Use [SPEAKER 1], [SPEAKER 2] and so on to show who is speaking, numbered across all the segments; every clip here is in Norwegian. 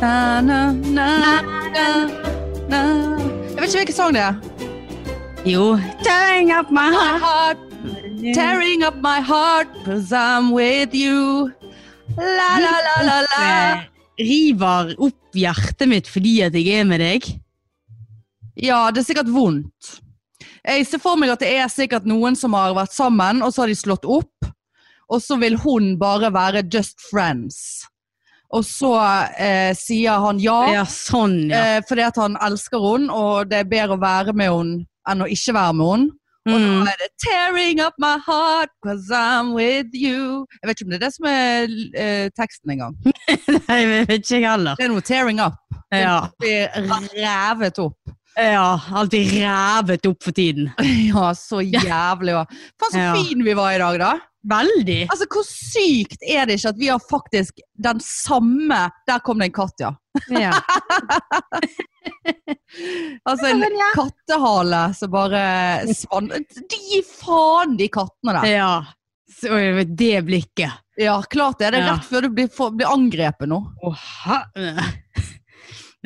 [SPEAKER 1] na, na, na, na. Jeg vet ikke hvilken sang det er.
[SPEAKER 2] Jo. Tearing up my
[SPEAKER 1] My heart,
[SPEAKER 2] heart.
[SPEAKER 1] tearing up my heart, cause I'm with you. La, la, la, la, la.
[SPEAKER 2] River opp hjertet mitt fordi at jeg er med deg.
[SPEAKER 1] Ja, det er sikkert vondt. Jeg ser for meg at det er sikkert noen som har vært sammen, og så har de slått opp. Og så vil hun bare være just friends. Og så eh, sier han ja,
[SPEAKER 2] Ja, sånn, ja.
[SPEAKER 1] eh, fordi at han elsker henne, og det er bedre å være med henne enn å ikke være med henne.
[SPEAKER 2] Mm.
[SPEAKER 1] Da er det 'Tearing up my heart cause I'm with you'. Jeg vet ikke om det er det som er eh, teksten engang.
[SPEAKER 2] Nei, jeg vet ikke jeg heller.
[SPEAKER 1] Det er noe 'tearing up'.
[SPEAKER 2] Ja.
[SPEAKER 1] Blir revet opp.
[SPEAKER 2] ja. Alltid rævet opp for tiden.
[SPEAKER 1] Ja, så jævlig bra. Faen, så
[SPEAKER 2] Ja.
[SPEAKER 1] fin vi var i dag, da.
[SPEAKER 2] Veldig.
[SPEAKER 1] Altså, Hvor sykt er det ikke at vi har faktisk den samme Der kom det en katt, ja.
[SPEAKER 2] Ja.
[SPEAKER 1] Altså en kattehale som bare svann... Gi faen, de kattene der!
[SPEAKER 2] ja. Så, det blikket.
[SPEAKER 1] Ja, klart det. Det er
[SPEAKER 2] Ja.
[SPEAKER 1] rett før du blir, får- blir angrepet nå.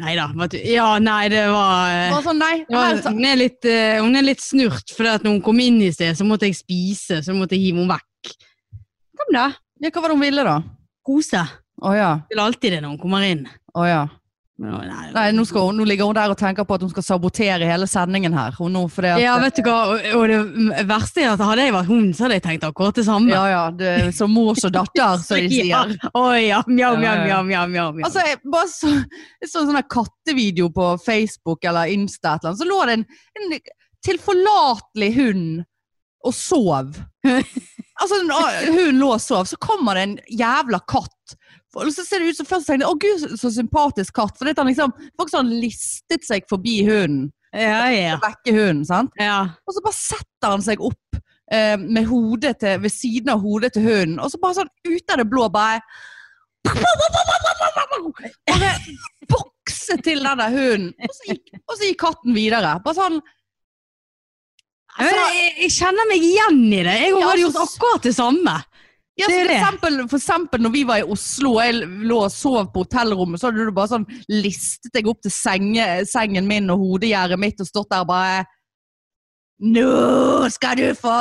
[SPEAKER 2] Nei da. Ja, nei, det var eh,
[SPEAKER 1] Bare sånn, nei,
[SPEAKER 2] det var-
[SPEAKER 1] her,
[SPEAKER 2] Hun er litt, eh, hun er litt snurt, for at når hun kom inn i sted, så måtte jeg spise, så måtte jeg hive henne vekk. Kom da.
[SPEAKER 1] ja, Hva var det hun ville, da?
[SPEAKER 2] Kose.
[SPEAKER 1] Å ja.
[SPEAKER 2] Vil alltid det når hun kommer inn.
[SPEAKER 1] Å ja.
[SPEAKER 2] Men, å, nei,
[SPEAKER 1] Nei, nå, skal hun, nå ligger hun der og tenker på at hun skal sabotere hele sendingen her. Hun nå, fordi at,
[SPEAKER 2] Ja, vet du hva, og, og det verste er at hadde jeg vært hun, så hadde jeg tenkt akkurat det samme.
[SPEAKER 1] ja, ja, det er som mor som datter, som de sier.
[SPEAKER 2] Ja. Å ja,
[SPEAKER 1] Ja,
[SPEAKER 2] mjau, mjau, mjau,
[SPEAKER 1] ja.
[SPEAKER 2] mjau, mjau, mjau.
[SPEAKER 1] Altså, jeg bare så, jeg så en sånn her kattevideo på Facebook eller Insta, et eller annet, så lå det en, en tilforlatelig hund og sov. Altså, en- å, Hun lå og sov, så kommer det en jævla katt. Og så ser det ut som først tenkte jeg, å gud, så sympatisk katt. For det at han liksom, faktisk har han listet seg forbi hunden,
[SPEAKER 2] ja, ja.
[SPEAKER 1] og vekke hunden, sant?
[SPEAKER 2] ja.
[SPEAKER 1] Og så bare setter han seg opp eh, med hodet til, ved siden av hodet til hunden, og så bare sånn ut av det blå bare Bare bokse til den der hunden. Og så gikk, og så gikk katten videre. Bare sånn
[SPEAKER 2] Ja, men
[SPEAKER 1] Altså-
[SPEAKER 2] jeg, jeg kjenner meg igjen i det. Jeg
[SPEAKER 1] Ja,
[SPEAKER 2] hadde
[SPEAKER 1] altså,
[SPEAKER 2] gjort akkurat det samme.
[SPEAKER 1] ja,
[SPEAKER 2] Det
[SPEAKER 1] så
[SPEAKER 2] er
[SPEAKER 1] for,
[SPEAKER 2] det.
[SPEAKER 1] eksempel, for eksempel når vi var i Oslo og jeg lå og sov på hotellrommet, så hadde du bare sånn listet deg opp til senge, sengen min og hodegjerdet mitt og stått der og bare Nå skal du få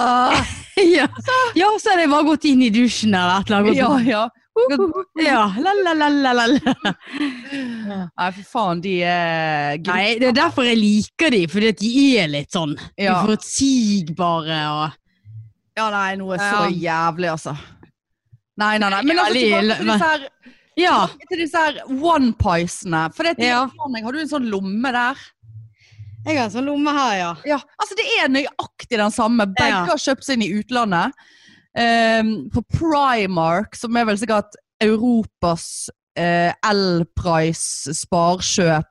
[SPEAKER 2] ja. ja, så hadde jeg bare gått inn i dusjen eller et eller
[SPEAKER 1] Ja,
[SPEAKER 2] annet.
[SPEAKER 1] ja.
[SPEAKER 2] Gått- Ja, la, la, la, la, la, la.
[SPEAKER 1] Nei, for faen, de er gri-
[SPEAKER 2] Nei, det er derfor jeg liker de, fordi at de er litt sånn
[SPEAKER 1] Ja.
[SPEAKER 2] uforutsigbare og
[SPEAKER 1] Ja, nei, noe så jævlig, altså. Nei, nei, nei. Men altså,
[SPEAKER 2] Jævlig
[SPEAKER 1] tilbake
[SPEAKER 2] ille,
[SPEAKER 1] til
[SPEAKER 2] men-
[SPEAKER 1] disse her,
[SPEAKER 2] Ja.
[SPEAKER 1] tilbake til disse her one-piesene. For det,
[SPEAKER 2] Ja.
[SPEAKER 1] Har du en sånn lomme der?
[SPEAKER 2] Jeg har en sånn lomme her, ja.
[SPEAKER 1] Ja, altså Det er nøyaktig den samme. Begge
[SPEAKER 2] Ja.
[SPEAKER 1] har kjøpt seg inn i utlandet. Ehm, på Primark, som er vel sikkert Europas eh, L-price, sparkjøp,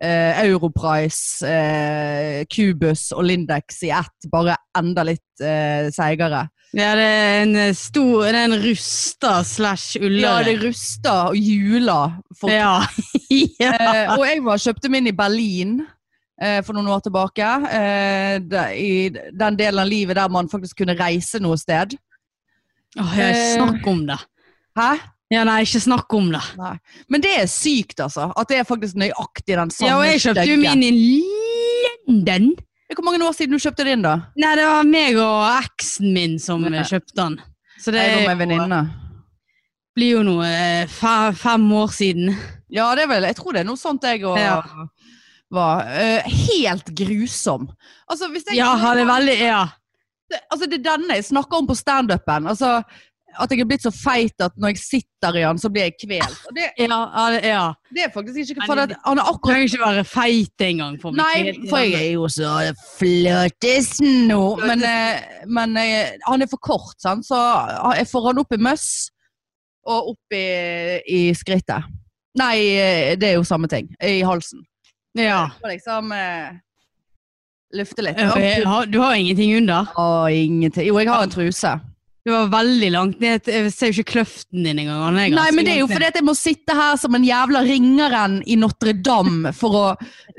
[SPEAKER 1] eh, Europrice, eh, Cubus og Lindex i ett, bare enda litt eh, seigere.
[SPEAKER 2] Ja, det er en eh, stor Det er en rusta slash
[SPEAKER 1] Ja,
[SPEAKER 2] ullere.
[SPEAKER 1] det ruster og juler. For,
[SPEAKER 2] Ja. ja.
[SPEAKER 1] Eh, og jeg var, kjøpte min i Berlin eh, for noen år tilbake. Eh, da, I den delen av livet der man faktisk kunne reise noe sted.
[SPEAKER 2] Åh, ja, ikke
[SPEAKER 1] eh,
[SPEAKER 2] snakk om det.
[SPEAKER 1] Hæ?
[SPEAKER 2] Ja, nei, ikke snakk om det.
[SPEAKER 1] Men det er sykt, altså. At det er faktisk nøyaktig den samme
[SPEAKER 2] Ja, og jeg kjøpte jo
[SPEAKER 1] stygge.
[SPEAKER 2] min i London.
[SPEAKER 1] Hvor mange år siden du kjøpte din, da?
[SPEAKER 2] Nei, det var meg og eksen min som
[SPEAKER 1] Ja.
[SPEAKER 2] eh, kjøpte den. Så det
[SPEAKER 1] Jeg var
[SPEAKER 2] er
[SPEAKER 1] med en
[SPEAKER 2] jo-
[SPEAKER 1] venninne.
[SPEAKER 2] blir jo noe eh, fe- fem år siden.
[SPEAKER 1] Ja, det er vel Jeg tror det er noe sånt jeg og
[SPEAKER 2] Ja.
[SPEAKER 1] var. Eh, helt grusom. Altså, hvis jeg
[SPEAKER 2] Ja, det er veldig Ja.
[SPEAKER 1] det, altså det er denne jeg snakker om på standupen. Altså, at jeg er blitt så feit at når jeg sitter i han, så blir jeg kvelt. Og det,
[SPEAKER 2] Ja, ja, det- ja.
[SPEAKER 1] det er faktisk ikke
[SPEAKER 2] Men
[SPEAKER 1] for at han er
[SPEAKER 2] Du
[SPEAKER 1] akkurat
[SPEAKER 2] trenger ikke være feit engang. for å bli
[SPEAKER 1] Nei,
[SPEAKER 2] kvitt.
[SPEAKER 1] for jeg er jo så fløtesen nå. Men, eh, men eh, han er for kort, sant? så eh, jeg får han opp i møss og opp i, i skrittet. Nei, eh, det er jo samme ting. I halsen.
[SPEAKER 2] ja.
[SPEAKER 1] Så liksom eh, lufte litt.
[SPEAKER 2] Ja, jeg har- Du har ingenting under.
[SPEAKER 1] Å, ingenting. Jo, jeg har en truse.
[SPEAKER 2] Du var veldig langt ned. Jeg ser jo ikke kløften din engang. Han er
[SPEAKER 1] Nei,
[SPEAKER 2] ganske
[SPEAKER 1] men det er jo
[SPEAKER 2] langt ned.
[SPEAKER 1] fordi at jeg må sitte her som en jævla ringeren i Notre-Dame for å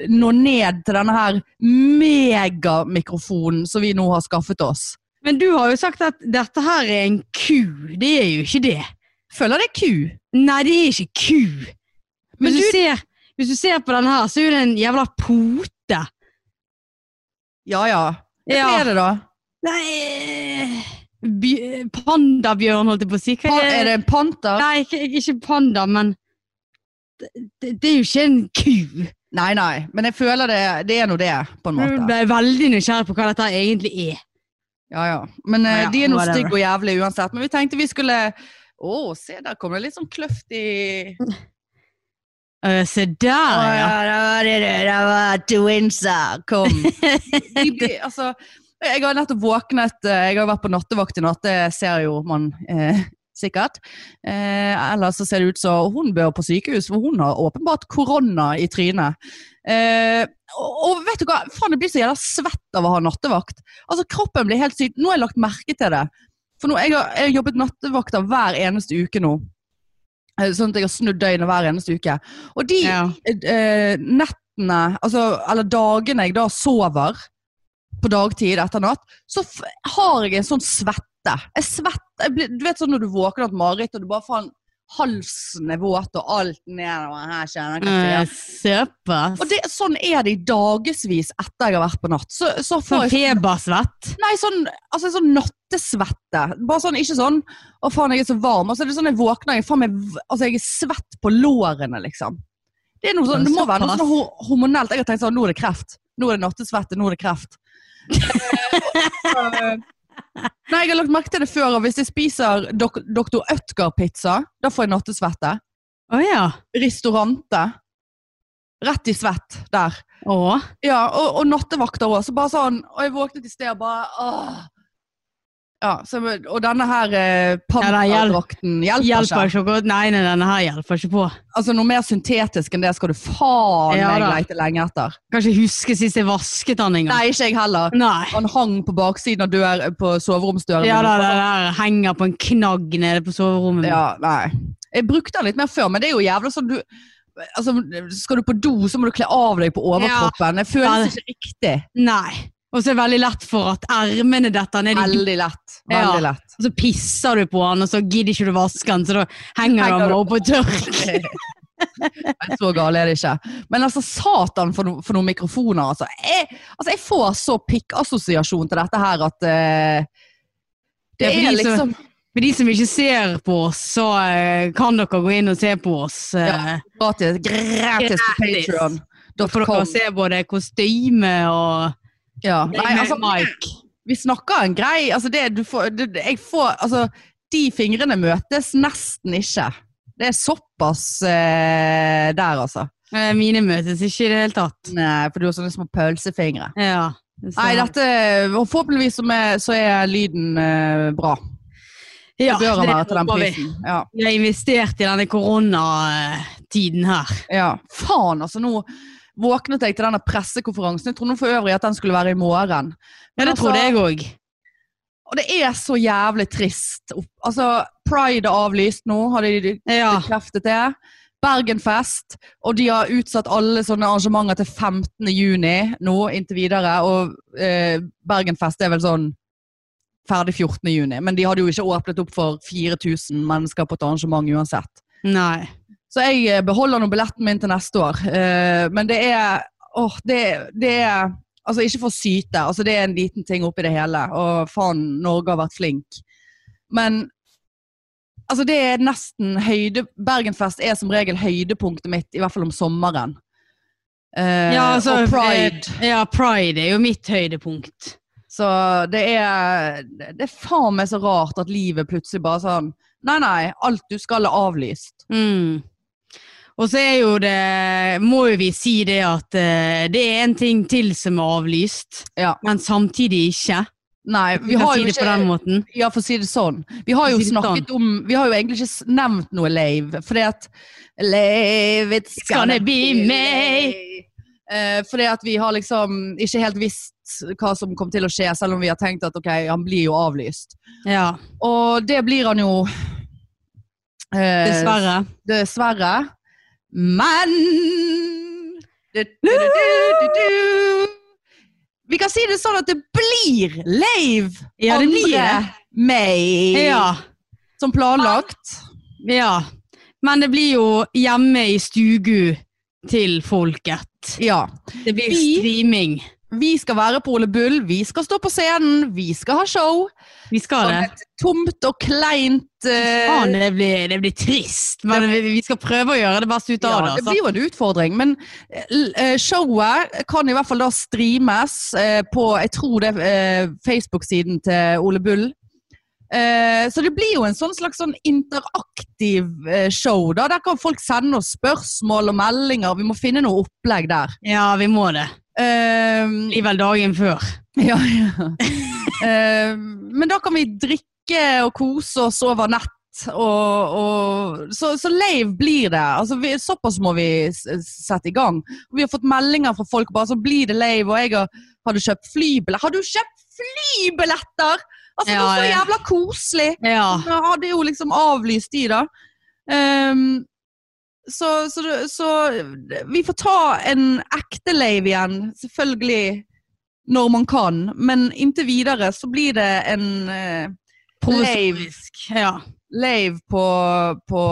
[SPEAKER 1] nå ned til denne her megamikrofonen som vi nå har skaffet oss.
[SPEAKER 2] Men du har jo sagt at dette her er en ku. Det er jo ikke det.
[SPEAKER 1] Føler det er ku,
[SPEAKER 2] Nei, det er ikke ku.
[SPEAKER 1] Men
[SPEAKER 2] Hvis du,
[SPEAKER 1] du-
[SPEAKER 2] ser, hvis du ser på den her, så er jo det en jævla pote.
[SPEAKER 1] Ja ja. Hva
[SPEAKER 2] Ja.
[SPEAKER 1] er det, da?
[SPEAKER 2] Nei by- Pandabjørn, holdt jeg på å si. Hva
[SPEAKER 1] Pa er det en panter?
[SPEAKER 2] Nei, ikke, ikke panda, men det, det, det er jo ikke en ku.
[SPEAKER 1] Nei, nei. Men jeg føler det, det er nå det, på en
[SPEAKER 2] Jeg
[SPEAKER 1] måte.
[SPEAKER 2] ble veldig nysgjerrig på hva dette her egentlig er.
[SPEAKER 1] Ja, ja. Men eh,
[SPEAKER 2] Ja, ja,
[SPEAKER 1] de er nå
[SPEAKER 2] whatever.
[SPEAKER 1] stygge og jævlige uansett. Men vi tenkte vi skulle Å, se der kom det litt sånn kløft i
[SPEAKER 2] Øh, se der, ja.
[SPEAKER 1] Twinser, kom. De blir, altså, jeg har nettopp våknet, eh, jeg har vært på nattevakt i natt, det ser jo man eh, sikkert. Eh, ellers så ser det ut som hun bør på sykehus, for hun har åpenbart korona i trynet. Eh, og, og vet du hva, faen det blir så jævla svett av å ha nattevakt. Altså kroppen blir helt syk, nå har jeg lagt merke til det. For nå, jeg, har, jeg har jobbet nattevakter hver eneste uke nå. Eh, Sånn at jeg har snudd døgnet hver eneste uke. Og de,
[SPEAKER 2] ja.
[SPEAKER 1] eh, nettene, altså, eller dagene jeg da sover på dagtid etter natt, så f har jeg en sånn svette. Jeg svetter. Jeg blir, du vet sånn når du våkner av et mareritt, og du bare faen Halsen er våt, og alt nedover her kjenner jeg hva
[SPEAKER 2] Øh,
[SPEAKER 1] jeg ser.
[SPEAKER 2] Såpass.
[SPEAKER 1] Og det, sånn er det i dagevis etter jeg har vært på natt. Så, så får
[SPEAKER 2] Sånn
[SPEAKER 1] jeg
[SPEAKER 2] febersvett.
[SPEAKER 1] Nei, sånn, altså, en sånn nattesvette. Bare sånn, ikke sånn 'Å, faen, jeg er så varm'. Altså, det er sånn jeg våkner, jeg, faen, meg v- altså, jeg er svett på lårene, liksom. Det, er noe sånn, det må være noe sånn ho- hormonelt. Jeg har tenkt sånn Nå er det kreft. Nå er det nattesvette. Nå er det kreft. Eh, Nei, jeg har lagt merke til det før, og hvis jeg spiser dok Dr. Ødgar-pizza, da får jeg nattesvette.
[SPEAKER 2] Å ja.
[SPEAKER 1] Restaurante. Rett i svett der.
[SPEAKER 2] Å.
[SPEAKER 1] Ja, og, og nattevakter òg. Så bare sånn Og jeg våknet i sted og bare åh. Ja, så, Og denne her eh, panterdrakten hjelper,
[SPEAKER 2] Hjelper
[SPEAKER 1] ikke.
[SPEAKER 2] ikke godt. Nei, nei, denne her hjelper ikke på.
[SPEAKER 1] Altså Noe mer syntetisk enn det skal du faen
[SPEAKER 2] Ja
[SPEAKER 1] meg
[SPEAKER 2] da.
[SPEAKER 1] leite lenge etter.
[SPEAKER 2] Kan ikke huske sist jeg vasket den engang.
[SPEAKER 1] Nei, ikke jeg heller.
[SPEAKER 2] Nei.
[SPEAKER 1] Han hang på baksiden av dør, på soveromsdøren.
[SPEAKER 2] Ja,
[SPEAKER 1] min.
[SPEAKER 2] da, det der henger på en knagg nede på soverommet. mitt.
[SPEAKER 1] ja, nei. Jeg brukte den litt mer før, men det er jo jævla sånn du Altså, Skal du på do, så må du kle av deg på overkroppen. Det
[SPEAKER 2] Ja,
[SPEAKER 1] føles
[SPEAKER 2] det-
[SPEAKER 1] ikke riktig.
[SPEAKER 2] Nei. Og så er det veldig lett for at ermene detter ned i bilen,
[SPEAKER 1] Veldig lett. Veldig lett.
[SPEAKER 2] og så pisser du på den, og så gidder ikke du vaske den, så da
[SPEAKER 1] Henger
[SPEAKER 2] henger den
[SPEAKER 1] du
[SPEAKER 2] bare opp på tørk.
[SPEAKER 1] Nei, så gal er det ikke. Men altså, satan for, no for noen mikrofoner, altså. Jeg, altså, jeg får så pikkassosiasjon til dette her at eh, det,
[SPEAKER 2] Ja, for
[SPEAKER 1] er
[SPEAKER 2] de som-
[SPEAKER 1] liksom
[SPEAKER 2] For de som ikke ser på oss, så eh, kan dere gå inn og se på oss. eh,
[SPEAKER 1] gratis, gratis på
[SPEAKER 2] Gratis. For dere
[SPEAKER 1] patreon.com.
[SPEAKER 2] ser både kostyme og
[SPEAKER 1] Ja. Nei, altså,
[SPEAKER 2] mic.
[SPEAKER 1] vi snakker en grei altså, det, du får, det, det- jeg får, altså, De fingrene møtes nesten ikke. Det er såpass eh, der, altså.
[SPEAKER 2] Eh, Mine møtes ikke i det hele tatt.
[SPEAKER 1] Nei, for du har sånne små pølsefingre.
[SPEAKER 2] Ja.
[SPEAKER 1] Nei, dette, eh, forhåpentligvis så er, så er lyden eh, bra.
[SPEAKER 2] ja,
[SPEAKER 1] Det bør han
[SPEAKER 2] det
[SPEAKER 1] være til den
[SPEAKER 2] håper vi.
[SPEAKER 1] prisen. Ja,
[SPEAKER 2] Vi har investert i denne koronatiden her.
[SPEAKER 1] ja. Faen, altså. Nå våknet jeg til denne pressekonferansen. Jeg trodde for øvrig at den skulle være i morgen.
[SPEAKER 2] Ja, det
[SPEAKER 1] altså-
[SPEAKER 2] trodde jeg òg.
[SPEAKER 1] Og det er så jævlig trist. Opp- Altså, Pride er avlyst nå, har de
[SPEAKER 2] Ja.
[SPEAKER 1] bekreftet det. Bergenfest, og de har utsatt alle sånne arrangementer til 15. juni nå inntil videre. Og eh, Bergenfest er vel sånn ferdig 14. juni, men de hadde jo ikke åpnet opp for 4000 mennesker på et arrangement uansett.
[SPEAKER 2] Nei.
[SPEAKER 1] Så jeg eh, beholder nå billetten min til neste år. Eh, men det er åh, det, det er Altså, ikke for å syte, altså det er en liten ting oppi det hele. Og faen, Norge har vært flink. Men altså det er nesten høyde Bergenfest er som regel høydepunktet mitt, i hvert fall om sommeren. Eh,
[SPEAKER 2] Ja, altså,
[SPEAKER 1] og pride.
[SPEAKER 2] eh, Ja, pride er jo mitt høydepunkt.
[SPEAKER 1] Så det er Det er faen meg så rart at livet plutselig bare sånn Nei, nei, alt du skal er avlyst.
[SPEAKER 2] Mm. Og så er jo det Må jo vi si det at eh, det er en ting til som er avlyst,
[SPEAKER 1] Ja.
[SPEAKER 2] men samtidig ikke.
[SPEAKER 1] Nei, vi
[SPEAKER 2] kan
[SPEAKER 1] har
[SPEAKER 2] si
[SPEAKER 1] jo
[SPEAKER 2] det på
[SPEAKER 1] ikke
[SPEAKER 2] den måten.
[SPEAKER 1] Ja, for å si det sånn. Vi har jo
[SPEAKER 2] For å si det
[SPEAKER 1] snakket om Vi har jo egentlig ikke s- nevnt noe lave, fordi at Lave, it's
[SPEAKER 2] gonna be me.
[SPEAKER 1] lave. Eh, fordi at vi har liksom ikke helt visst hva som kom til å skje, selv om vi har tenkt at ok, han blir jo avlyst.
[SPEAKER 2] Ja,
[SPEAKER 1] Og det blir han jo eh,
[SPEAKER 2] dessverre.
[SPEAKER 1] Dessverre. Men du, du, du, du, du, du. Vi kan si det sånn at det blir lave
[SPEAKER 2] Ja, det blir det.
[SPEAKER 1] andre May
[SPEAKER 2] Ja.
[SPEAKER 1] Ah. som planlagt.
[SPEAKER 2] ja. Men det blir jo hjemme i stugu til folket.
[SPEAKER 1] Ja.
[SPEAKER 2] Det blir
[SPEAKER 1] Vi-
[SPEAKER 2] streaming.
[SPEAKER 1] Vi skal være på Ole Bull, vi skal stå på scenen, vi skal ha show.
[SPEAKER 2] Vi skal
[SPEAKER 1] Som
[SPEAKER 2] det.
[SPEAKER 1] et tomt og kleint eh,
[SPEAKER 2] Faen, det blir, det blir trist, men vi, vi skal prøve å gjøre det beste ut av
[SPEAKER 1] Ja,
[SPEAKER 2] det.
[SPEAKER 1] det
[SPEAKER 2] Altså.
[SPEAKER 1] blir jo en utfordring, men eh, l- eh, showet kan i hvert fall da streames eh, på jeg tror det eh, Facebook-siden til Ole Bull. Eh, Så det blir jo en sånn slags sånn interaktiv eh, show. da. Der kan folk sende oss spørsmål og meldinger. Vi må finne noe opplegg der.
[SPEAKER 2] Ja, vi må det.
[SPEAKER 1] Eh,
[SPEAKER 2] Det blir vel dagen før.
[SPEAKER 1] Ja, ja. Eh, men da kan vi drikke og kose oss over nett. Og, og, så, så lave blir det. Altså, vi, såpass må vi s- sette i gang. Vi har fått meldinger fra folk bare sånn blir det lave, og jeg har, har du kjøpt flybilletter. Har du kjøpt flybilletter?! Altså,
[SPEAKER 2] Ja,
[SPEAKER 1] det er så
[SPEAKER 2] ja.
[SPEAKER 1] jævla koselig!
[SPEAKER 2] Ja.
[SPEAKER 1] Jeg hadde jo liksom avlyst de, da. Ehm, så, så, det- så vi får ta en ekte lave igjen, selvfølgelig, når man kan. Men inntil videre så blir det en eh,
[SPEAKER 2] Provisorisk. Ja.
[SPEAKER 1] lave på, på,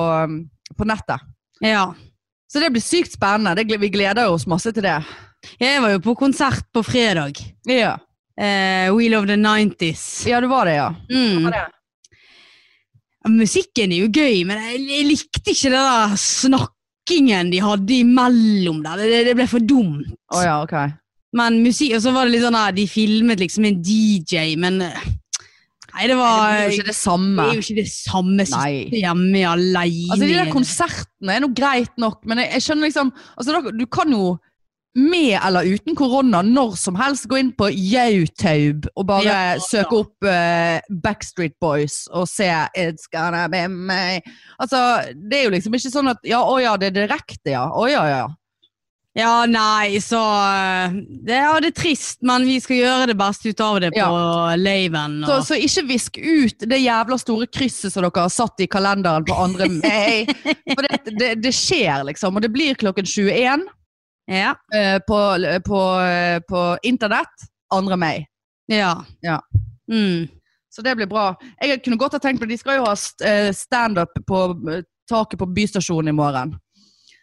[SPEAKER 1] på nettet.
[SPEAKER 2] ja.
[SPEAKER 1] Så det blir sykt spennende. Det, gle- vi gleder oss masse til det.
[SPEAKER 2] Jeg var jo på konsert på fredag.
[SPEAKER 1] Ja,
[SPEAKER 2] Eh, Wheel of the 90s.
[SPEAKER 1] ja det var det, ja.
[SPEAKER 2] Mm. Musikken er jo gøy, men jeg, jeg likte ikke det der snakkingen de hadde imellom der. Det, det ble for dumt.
[SPEAKER 1] Å ja, ok.
[SPEAKER 2] Men musikk, og så var det litt sånn her, de filmet liksom en DJ, men eh, Nei, det
[SPEAKER 1] Det
[SPEAKER 2] var
[SPEAKER 1] blir jo ikke det samme.
[SPEAKER 2] Det er jo ikke det samme som
[SPEAKER 1] Nei.
[SPEAKER 2] sitter hjemme alene.
[SPEAKER 1] Altså, de der konsertene er noe greit nok, men jeg, jeg skjønner liksom altså, dere- Du kan jo med eller uten korona når som helst gå inn på YouTube og bare
[SPEAKER 2] Ja,
[SPEAKER 1] søke
[SPEAKER 2] ja.
[SPEAKER 1] opp eh, Backstreet Boys og se It's gonna be me. Altså, det er jo liksom ikke sånn at Ja, å ja, det er direkte, ja. Å ja, ja.
[SPEAKER 2] ja, nei, så eh, det, ja, det er trist, men vi skal gjøre det beste ut av det på laven.
[SPEAKER 1] Så,
[SPEAKER 2] Og,
[SPEAKER 1] så ikke visk ut det jævla store krysset som dere har satt i kalenderen på 2. mai. For det, det, det skjer, liksom. Og det blir klokken 21.
[SPEAKER 2] ja,
[SPEAKER 1] eh, på, på, eh, på internett 2. mai.
[SPEAKER 2] ja.
[SPEAKER 1] Ja.
[SPEAKER 2] Mm.
[SPEAKER 1] Så det blir bra. Jeg kunne godt ha tenkt på De skal jo ha st- eh, standup på eh, taket på Bystasjonen i morgen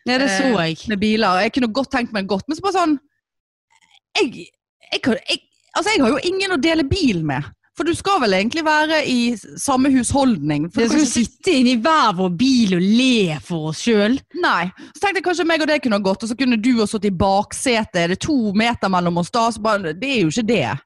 [SPEAKER 2] ja, det så
[SPEAKER 1] Eh,
[SPEAKER 2] jeg.
[SPEAKER 1] med biler. Jeg kunne godt tenkt meg godt, men så bare sånn jeg, jeg, kan- jeg, altså jeg har jo ingen å dele bil med. For du skal vel egentlig være i s- samme husholdning. For
[SPEAKER 2] Vi
[SPEAKER 1] du kan
[SPEAKER 2] skal
[SPEAKER 1] ikke sitte-
[SPEAKER 2] sitte inne i hver vår bil og le for oss sjøl.
[SPEAKER 1] Nei. Så tenkte jeg kanskje meg og det kunne ha gått, og så kunne du ha sittet i baksetet. Er det to meter mellom oss da? Så bare, det er jo ikke det.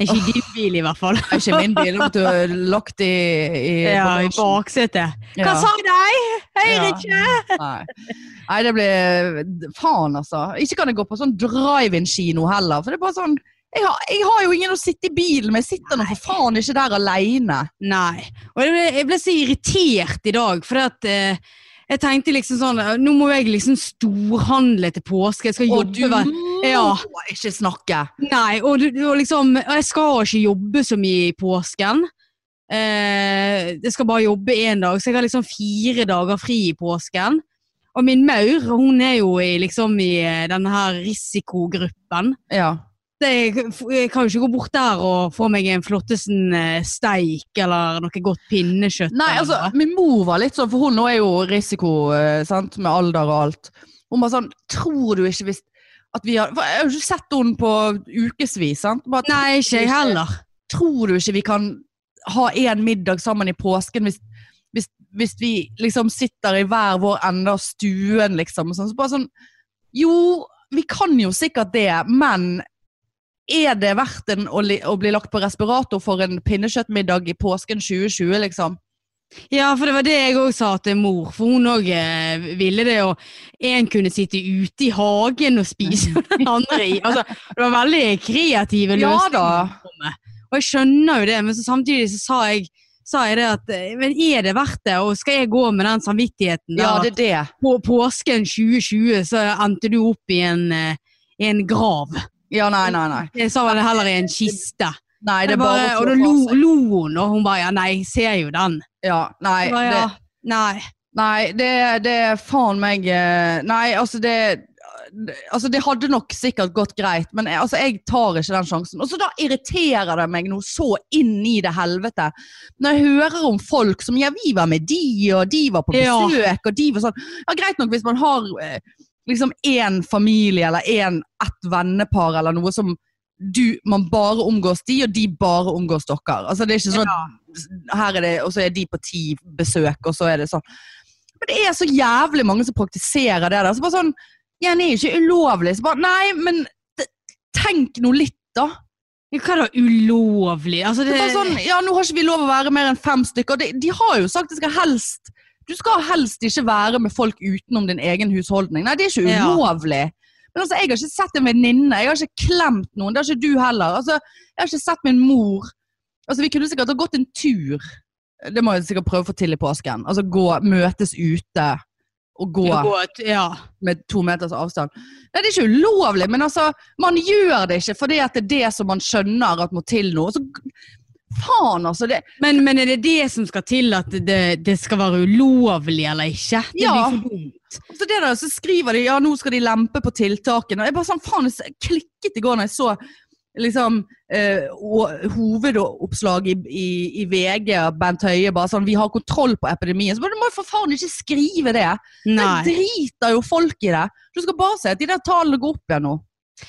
[SPEAKER 2] Ikke i din bil, i hvert fall.
[SPEAKER 1] Det er Ikke min bil, den ble lagt i, i
[SPEAKER 2] Ja, I
[SPEAKER 1] bagasjen.
[SPEAKER 2] baksetet. Hva
[SPEAKER 1] Ja.
[SPEAKER 2] sa de? Hører
[SPEAKER 1] Ja.
[SPEAKER 2] ikke!
[SPEAKER 1] Nei. Nei, det blir Faen, altså. Ikke kan jeg gå på sånn drive-in-kino heller. For det er bare sånn jeg har, jeg har jo ingen å sitte i bilen med. Jeg sitter nå for faen ikke der aleine.
[SPEAKER 2] Nei. Og jeg ble, jeg ble så irritert i dag, for at eh, jeg tenkte liksom sånn eh, Nå må jeg liksom storhandle til påske. Jeg skal
[SPEAKER 1] Og du
[SPEAKER 2] jobbe hver-
[SPEAKER 1] må
[SPEAKER 2] Ja.
[SPEAKER 1] ikke snakke.
[SPEAKER 2] Nei, og, du- og liksom og Jeg skal ikke jobbe så mye i påsken. Eh, jeg skal bare jobbe én dag, så jeg har liksom fire dager fri i påsken. Og min maur, hun er jo i, liksom i eh, denne her risikogruppen.
[SPEAKER 1] Ja.
[SPEAKER 2] Det, jeg, jeg kan jo ikke gå bort der og få meg en flottesen eh, steik eller noe godt pinnekjøtt.
[SPEAKER 1] Nei,
[SPEAKER 2] eller
[SPEAKER 1] altså,
[SPEAKER 2] noe.
[SPEAKER 1] min mor var litt sånn, for hun nå er jo risiko eh, sant, med alder og alt. Hun var sånn Tror du ikke hvis at vi har for Jeg har jo ikke sett henne på ukevis. sant? Bare,
[SPEAKER 2] Nei, ikke jeg heller.
[SPEAKER 1] tror du ikke vi kan ha en middag sammen i påsken hvis, hvis, hvis vi liksom sitter i hver vår ende av stuen, liksom? og Sånn, så bare sånn Jo, vi kan jo sikkert det, men er det verdt en å, li, å bli lagt på respirator for en pinnekjøttmiddag i påsken 2020, liksom?
[SPEAKER 2] Ja, for det var det jeg òg sa til mor, for hun òg eh, ville det. Og en kunne sitte ute i hagen og spise, og den andre i Altså, det var veldig kreative
[SPEAKER 1] Mm. Ja
[SPEAKER 2] løsninger.
[SPEAKER 1] da.
[SPEAKER 2] som kom med. Og jeg skjønner jo det, men så samtidig så sa jeg, sa jeg det at eh, Men er det verdt det, og skal jeg gå med den samvittigheten? der
[SPEAKER 1] Ja,
[SPEAKER 2] at
[SPEAKER 1] det er det.
[SPEAKER 2] På påsken 2020 så endte du opp i en, eh, i en grav.
[SPEAKER 1] Ja, nei, nei, nei.
[SPEAKER 2] Jeg sa vel heller i en kiste.
[SPEAKER 1] nei det er
[SPEAKER 2] Jeg
[SPEAKER 1] bare,
[SPEAKER 2] bare,
[SPEAKER 1] å
[SPEAKER 2] og da
[SPEAKER 1] slå
[SPEAKER 2] lo,
[SPEAKER 1] fra seg.
[SPEAKER 2] lo hun, og hun bare ja, nei, jeg ser jo den.
[SPEAKER 1] Ja, nei,
[SPEAKER 2] Jeg bare,
[SPEAKER 1] det,
[SPEAKER 2] ja, nei.
[SPEAKER 1] Nei, det, det er faen meg eh, Nei, altså det altså Det hadde nok sikkert gått greit, men jeg, altså, jeg tar ikke den sjansen. Og så Da irriterer det meg noe så inn i det helvete. Når jeg hører om folk som ja, vi var med de, og de var på
[SPEAKER 2] Ja.
[SPEAKER 1] besøk, og de var sånn. Ja, Greit nok hvis man har eh, liksom én familie eller en, ett vennepar eller noe som du, man bare omgås de, og de bare omgås dere. Altså Det er ikke sånn
[SPEAKER 2] Ja.
[SPEAKER 1] her er det, og så er de på ti besøk, og så er det sånn. Men det er så jævlig mange som praktiserer det der. Så bare sånn, ja, det er ikke ulovlig. Så bare, nei, men t- tenk nå litt da.
[SPEAKER 2] Hva da, ulovlig? Altså,
[SPEAKER 1] Det
[SPEAKER 2] det,
[SPEAKER 1] er bare sånn, ja, nå har ikke vi lov å være mer enn fem stykker. De, de har jo sagt det skal helst, du skal helst ikke være med folk utenom din egen husholdning. Nei, det er ikke
[SPEAKER 2] Ja.
[SPEAKER 1] ulovlig. Men altså, jeg har ikke sett en venninne, jeg har ikke klemt noen, det har ikke du heller. Altså, jeg har ikke sett min mor. Altså, vi kunne sikkert ha gått en tur. Det må jeg sikkert prøve å få til i påsken. Altså, gå, møtes ute og gå
[SPEAKER 2] ja, godt, ja.
[SPEAKER 1] med to meters avstand. Nei, det er ikke ulovlig, men altså, man gjør det ikke fordi at det er det som man skjønner at må til nå. Og Så, faen, altså. Det,
[SPEAKER 2] Men, men er det det som skal til at det, det skal være ulovlig eller ikke? Det
[SPEAKER 1] Ja.
[SPEAKER 2] blir for dumt.
[SPEAKER 1] så det der, så skriver de ja, nå skal de lempe på tiltakene. Og jeg bare sånn, faen, jeg s- klikket i går når jeg så liksom eh, o- hovedoppslag i, i, i VG av Bent Høie bare sånn 'Vi har kontroll på epidemien'. Så bare, du må jo for faen ikke skrive det! Det
[SPEAKER 2] Nei.
[SPEAKER 1] driter jo folk i det. Du skal bare se at de der tallene går opp igjen nå.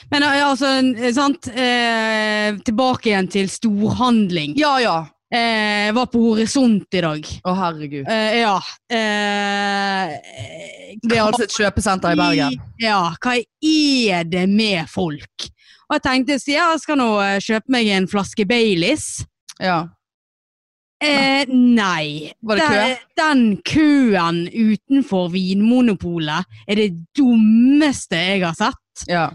[SPEAKER 2] Men ja, altså, n- sant eh, Tilbake igjen til storhandling.
[SPEAKER 1] Ja ja.
[SPEAKER 2] Eh, var på Horisont i dag.
[SPEAKER 1] Å herregud.
[SPEAKER 2] Eh, ja. Eh,
[SPEAKER 1] Det er altså et kjøpesenter i Bergen.
[SPEAKER 2] Ja, hva er det med folk? Og jeg tenkte, så ja, jeg skal nå eh, kjøpe meg en flaske Baileys.
[SPEAKER 1] Ja.
[SPEAKER 2] Eh, nei.
[SPEAKER 1] Var det kø?
[SPEAKER 2] Den, den køen utenfor Vinmonopolet er det dummeste jeg har sett.
[SPEAKER 1] ja.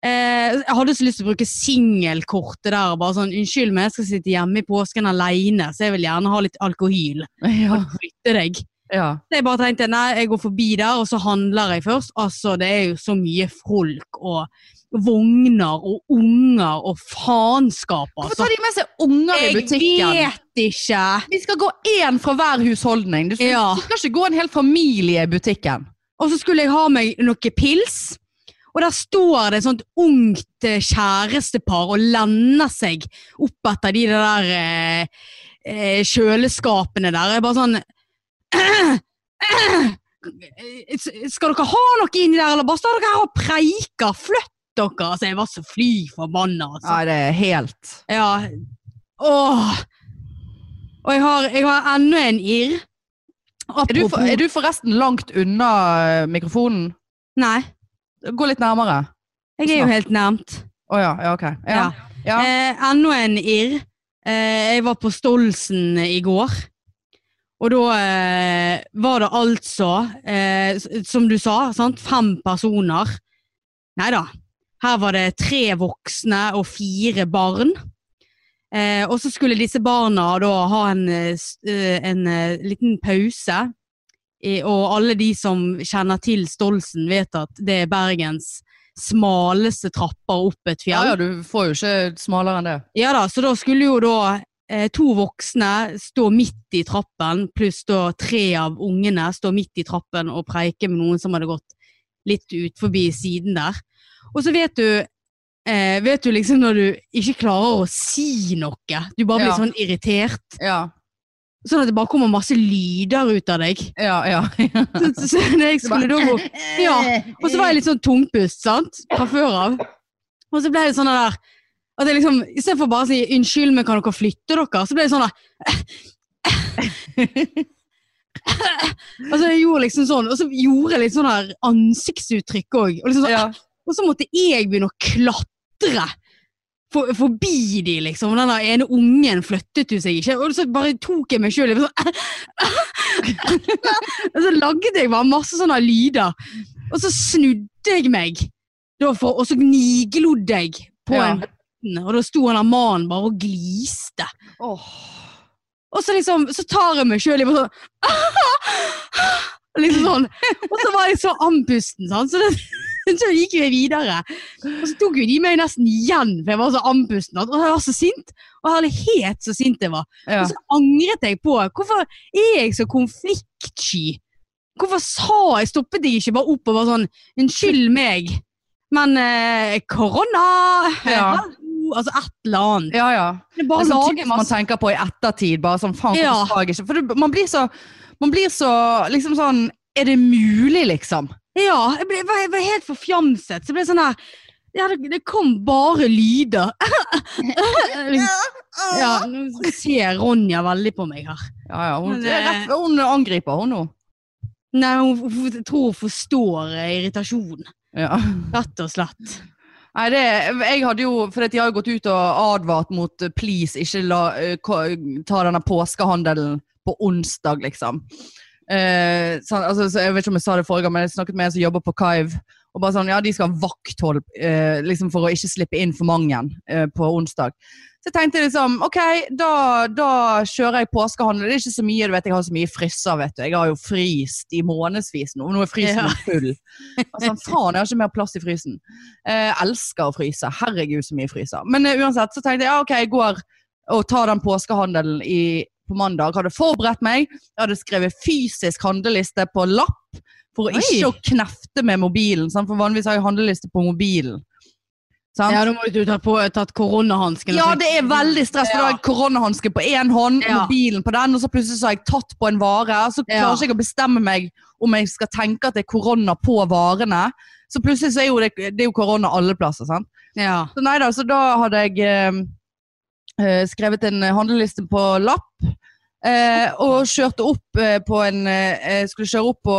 [SPEAKER 2] Eh, jeg hadde så lyst til å bruke singelkortet der. og Bare sånn, unnskyld meg, jeg skal sitte hjemme i påsken alene, så jeg vil gjerne ha litt alkohol.
[SPEAKER 1] Ja.
[SPEAKER 2] Kan du Flytte deg.
[SPEAKER 1] ja.
[SPEAKER 2] Så jeg bare tenkte, nei, jeg går forbi der, og så handler jeg først. Altså, det er jo så mye folk og vogner og unger og faenskap,
[SPEAKER 1] Hvorfor
[SPEAKER 2] altså.
[SPEAKER 1] tar de med seg unger i
[SPEAKER 2] Jeg
[SPEAKER 1] butikken?
[SPEAKER 2] vet ikke.
[SPEAKER 1] Vi skal gå én fra hver husholdning. Du skal,
[SPEAKER 2] Ja.
[SPEAKER 1] du skal ikke gå en hel familie i butikken.
[SPEAKER 2] Og så skulle jeg ha meg noe pils. Og der står det et sånt ungt eh, kjærestepar og lender seg opp etter de der eh, eh, kjøleskapene der. Jeg er bare sånn Skal dere ha noe inni der, eller bare står dere her og preiker? Flytt dere! Altså, jeg var så fly forbanna. Altså.
[SPEAKER 1] Nei, det er helt
[SPEAKER 2] Ja. Åh. Og jeg har, jeg har enda en irr.
[SPEAKER 1] er du, for,
[SPEAKER 2] Apropos
[SPEAKER 1] er du forresten langt unna eh, mikrofonen?
[SPEAKER 2] Nei,
[SPEAKER 1] Gå litt nærmere.
[SPEAKER 2] jeg er jo helt nærmt.
[SPEAKER 1] Å ja. ja, ok. Ja.
[SPEAKER 2] Ja.
[SPEAKER 1] Ja.
[SPEAKER 2] Eh, enda en irr. Eh, jeg var på Stolsen i går. Og da eh, var det altså, eh, s- som du sa, sant? fem personer. Nei da. Her var det tre voksne og fire barn. Eh, og så skulle disse barna da ha en, eh, s- eh, en eh, liten pause. I, og alle de som kjenner til Stolsen, vet at det er Bergens smaleste trapper opp et
[SPEAKER 1] ja
[SPEAKER 2] fjell.
[SPEAKER 1] ja, du får jo ikke smalere enn det.
[SPEAKER 2] Ja da, så da skulle jo da eh, to voksne stå midt i trappen, pluss da tre av ungene stå midt i trappen og preike med noen som hadde gått litt ut forbi siden der. Og så vet du, eh, vet du liksom når du ikke klarer å si noe, du bare blir
[SPEAKER 1] Ja.
[SPEAKER 2] sånn irritert,
[SPEAKER 1] Ja,
[SPEAKER 2] sånn at det bare kommer masse lyder ut av deg.
[SPEAKER 1] ja, ja.
[SPEAKER 2] Så, så, så når jeg skulle da gå Ja, og så var jeg litt sånn tungpust, sant? Fra før av. Og så ble det sånn der at jeg liksom, Istedenfor bare å si 'unnskyld, men kan dere flytte dere?' så ble det sånn der Altså jeg gjorde liksom sånn, Og så gjorde jeg litt sånn der ansiktsuttrykk òg. Og, liksom sånn,
[SPEAKER 1] ja.
[SPEAKER 2] og så måtte jeg begynne å klatre for, forbi de, liksom. Og den der ene ungen flyttet jo seg ikke. Og så bare tok jeg meg sjøl i sånn Og så lagde jeg bare masse sånne lyder. Og så snudde jeg meg, da for, og så gniglodde jeg på
[SPEAKER 1] Ja.
[SPEAKER 2] en vann. Og da sto han der mannen bare og gliste.
[SPEAKER 1] Åh.
[SPEAKER 2] Og så liksom, så tar jeg meg sjøl i bare sånn Liksom sånn. Og så var jeg så andpusten, sant? Så, det, så gikk vi videre. Og så tok jo de meg nesten igjen, for jeg var så andpusten. sant? Og jeg var så sint. Og herlighet så sint jeg var.
[SPEAKER 1] Ja.
[SPEAKER 2] Og så angret jeg på Hvorfor er jeg så konfliktsky? Hvorfor sa jeg, stoppet jeg ikke bare opp og var sånn Unnskyld meg, Men eh, korona
[SPEAKER 1] Ja.
[SPEAKER 2] hallo, Altså et eller annet.
[SPEAKER 1] Ja, ja.
[SPEAKER 2] Det
[SPEAKER 1] Bare
[SPEAKER 2] er bare å
[SPEAKER 1] sånn
[SPEAKER 2] lage
[SPEAKER 1] ting man
[SPEAKER 2] masse
[SPEAKER 1] tenker på i ettertid. Bare sånn, faen,
[SPEAKER 2] Ja.
[SPEAKER 1] hvorfor sa jeg ikke? For det, man blir så, man blir så liksom sånn, er det mulig, liksom?
[SPEAKER 2] Ja, jeg, ble, jeg, var, jeg var helt forfjamset. Så jeg ble sånn her ja, det, det kom bare lyder. ja, nå ser Ronja veldig på meg her.
[SPEAKER 1] Ja, ja, hun,
[SPEAKER 2] Men,
[SPEAKER 1] det er
[SPEAKER 2] eh,
[SPEAKER 1] rett, hun angriper, hun nå.
[SPEAKER 2] Nei, hun, hun jeg tror hun forstår eh, irritasjonen.
[SPEAKER 1] Ja.
[SPEAKER 2] Rett og slett.
[SPEAKER 1] Nei, det, jeg hadde jo, for at de har jo gått ut og advart mot eh, please, ikke la, eh, ko- ta denne påskehandelen på onsdag, liksom. Eh, sånn, altså, så jeg vet ikke om jeg sa det forrige gang, men jeg snakket med en som jobber på Kaiv, og bare sånn, ja, de skal ha vakthold eh, liksom for å ikke slippe inn for mange eh, på onsdag. Så jeg tenkte liksom, ok, da, da kjører jeg påskehandel. Det er ikke så mye, du vet, jeg har så mye frysser, vet du. Jeg har jo fryst i månedsvis nå, og nå er frysen
[SPEAKER 2] Ja.
[SPEAKER 1] min full. Og sånn, faen, jeg har ikke mer plass i frysen. Eh, elsker å fryse. Herregud, så mye jeg fryser. Men eh, uansett så tenkte jeg ja, ok, jeg går og tar den påskehandelen i, på mandag. Hadde forberedt meg. Jeg hadde skrevet fysisk handleliste på lapp for
[SPEAKER 2] Oi.
[SPEAKER 1] ikke å knefte med mobilen. Sant? For vanligvis har jeg handleliste på mobilen. Sant?
[SPEAKER 2] Ja, da må du ta på, eh, tatt koronahansken.
[SPEAKER 1] Ja, det er veldig stress. for Da har jeg koronahanske på én hånd,
[SPEAKER 2] Ja.
[SPEAKER 1] mobilen på den, og så plutselig så har jeg tatt på en vare. og Så klarer
[SPEAKER 2] Ja.
[SPEAKER 1] ikke jeg å bestemme meg om jeg skal tenke at det er korona på varene. Så plutselig så er jo det, det er jo korona alle plasser. sant?
[SPEAKER 2] Ja.
[SPEAKER 1] Så nei da, så da hadde jeg eh, eh, skrevet en eh, handleliste på lapp. Eh, og kjørte opp eh, på en eh, eh, Skulle kjøre opp på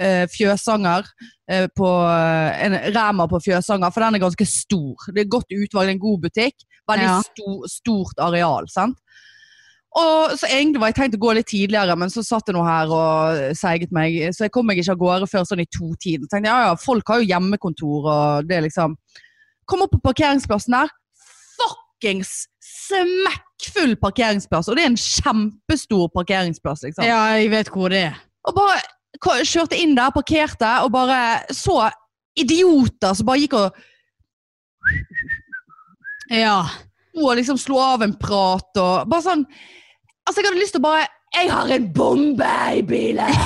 [SPEAKER 1] eh, Fjøsanger. Eh, på eh, en Rema på Fjøsanger, for den er ganske stor. Det er godt utvalg, det er en god butikk. Veldig
[SPEAKER 2] Ja.
[SPEAKER 1] sto- stort areal. sant? Og så Egentlig var jeg tenkt å gå litt tidligere, men så satt jeg nå her og seiget meg. Så jeg kom meg ikke av gårde før sånn i to-tiden. Så tenkte jeg, ja, ja, Folk har jo hjemmekontor, og det er liksom Kom opp på parkeringsplassen der. Fuckings smekkfull parkeringsplass! Og det er en kjempestor parkeringsplass, liksom.
[SPEAKER 2] ja, jeg vet hvor det er.
[SPEAKER 1] Og bare ko- kjørte inn der, parkerte, og bare så idioter som bare gikk og
[SPEAKER 2] Ja.
[SPEAKER 1] og liksom slo av en prat og bare sånn Altså, jeg hadde lyst til å bare Jeg har en bombe i bilen!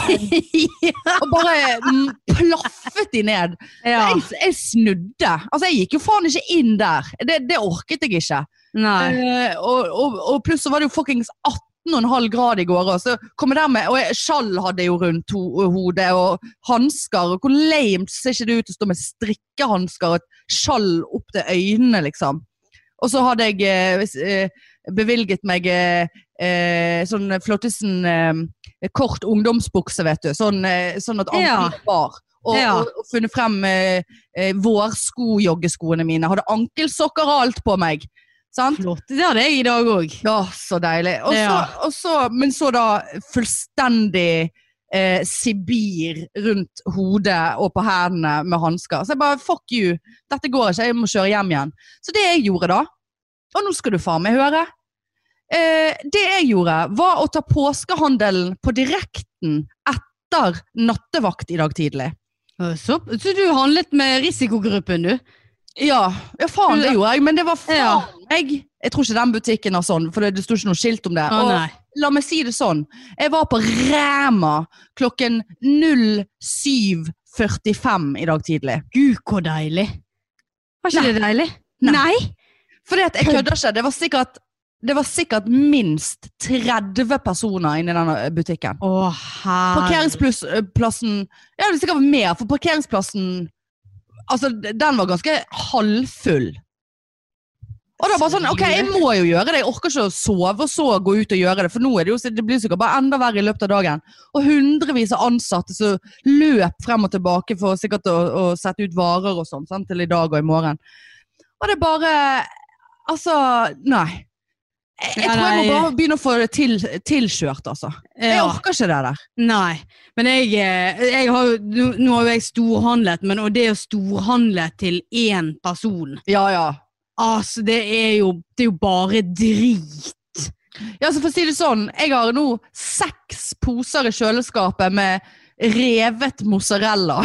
[SPEAKER 1] og bare mm, plaffet de ned.
[SPEAKER 2] ja.
[SPEAKER 1] Jeg, jeg snudde. Altså, jeg gikk jo faen ikke inn der. Det, det orket jeg ikke.
[SPEAKER 2] Nei.
[SPEAKER 1] Eh, og, og, og pluss så var det jo fuckings 18,5 grad i går. Og så kom jeg der med, og jeg, skjall hadde jeg jo rundt ho hodet, og hansker. Og hvor lame ser ikke det ut å stå med strikkehansker og et skjall opp til øynene, liksom. Og så hadde jeg eh, hvis- eh, bevilget meg eh, eh, sånn Flottesen eh, kort ungdomsbukse, vet du. Sånn, eh, sånn at
[SPEAKER 2] Ja.
[SPEAKER 1] ankelen var. Og,
[SPEAKER 2] Ja.
[SPEAKER 1] og, og funnet frem eh, eh, vårskojoggeskoene mine. Hadde ankelsokker og alt på meg. Sant?
[SPEAKER 2] Flott. Det hadde jeg i dag òg.
[SPEAKER 1] Ja, så deilig. Og så,
[SPEAKER 2] Ja.
[SPEAKER 1] og så, men så da fullstendig eh, sibir rundt hodet og på hendene med hansker. Så jeg bare fuck you, dette går ikke, jeg må kjøre hjem igjen. Så det jeg gjorde da, og nå skal du faen meg høre eh, Det jeg gjorde, var å ta påskehandelen på direkten etter nattevakt i dag tidlig.
[SPEAKER 2] Så, så du handlet med risikogruppen, du?
[SPEAKER 1] Ja, ja faen, det gjorde jeg, men det var faen
[SPEAKER 2] Ja.
[SPEAKER 1] meg. Jeg tror ikke den butikken har sånn, for det, det sto ikke noe skilt om det.
[SPEAKER 2] Å
[SPEAKER 1] Og-
[SPEAKER 2] nei.
[SPEAKER 1] la meg si det sånn. Jeg var på Rema klokken 07.45 i dag tidlig.
[SPEAKER 2] Gud, hvor deilig. Var ikke
[SPEAKER 1] Nei.
[SPEAKER 2] det deilig?
[SPEAKER 1] Nei.
[SPEAKER 2] Nei.
[SPEAKER 1] Fordi at jeg kødder ikke. Det var sikkert, det var sikkert minst 30 personer inne i denne butikken.
[SPEAKER 2] Å, herre.
[SPEAKER 1] Parkeringsplassen eh, Ja, det var sikkert mer, for parkeringsplassen Altså, den var ganske halvfull. Og da bare sånn, ok, jeg må jo gjøre det. Jeg orker ikke å sove og så gå ut og gjøre det. For nå er det jo, det blir sikkert bare enda verre i løpet av dagen. Og hundrevis av ansatte som løp frem og tilbake for sikkert å, å sette ut varer og sånn, sant, til i dag og i morgen. Og det er bare Altså, nei. Jeg, jeg
[SPEAKER 2] Ja,
[SPEAKER 1] tror jeg må
[SPEAKER 2] nei.
[SPEAKER 1] bare begynne å få det til, tilkjørt, altså. Jeg
[SPEAKER 2] Ja.
[SPEAKER 1] orker ikke det der.
[SPEAKER 2] Nei. Men jeg, eh, jeg har jo nå- Nå har jo jeg storhandlet, men og det å storhandle til én person
[SPEAKER 1] Ja, ja.
[SPEAKER 2] Altså, det er jo, det er jo bare drit.
[SPEAKER 1] Ja, så for å si det sånn, jeg har nå seks poser i kjøleskapet med revet mozzarella.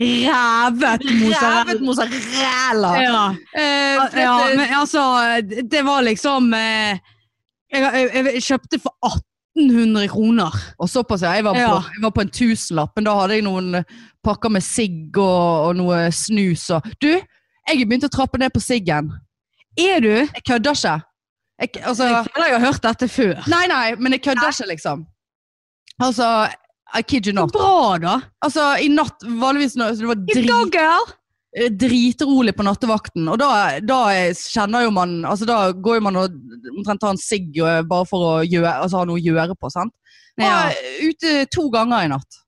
[SPEAKER 2] Rævet mozzarella.
[SPEAKER 1] Revet mozzarella!
[SPEAKER 2] Ja.
[SPEAKER 1] Eh, for
[SPEAKER 2] ja,
[SPEAKER 1] dette-
[SPEAKER 2] men altså, det var liksom eh, jeg, jeg, jeg kjøpte for 1800 kroner.
[SPEAKER 1] Og såpass, ja. Jeg var på,
[SPEAKER 2] Ja.
[SPEAKER 1] jeg var på en tusenlapp, men da hadde jeg noen pakker med sigg og, og noe snus og Du, jeg begynte å trappe ned på siggen.
[SPEAKER 2] Er du?
[SPEAKER 1] Jeg kødder ikke. Jeg, altså,
[SPEAKER 2] Jeg føler jeg har hørt dette før.
[SPEAKER 1] nei, nei, men jeg kødder ikke, liksom. Altså, I kid you
[SPEAKER 2] Så
[SPEAKER 1] not.
[SPEAKER 2] bra, da.
[SPEAKER 1] Altså, i natt, vanligvis når så det var
[SPEAKER 2] Good
[SPEAKER 1] drit
[SPEAKER 2] dog, girl!
[SPEAKER 1] eh, dritrolig på nattevakten, og da, da eh, kjenner jo man altså Da går jo man og omtrent tar en sigg eh, bare for å gjøre, altså, ha noe å gjøre på, sant?
[SPEAKER 2] Ja.
[SPEAKER 1] Var ute to ganger i natt.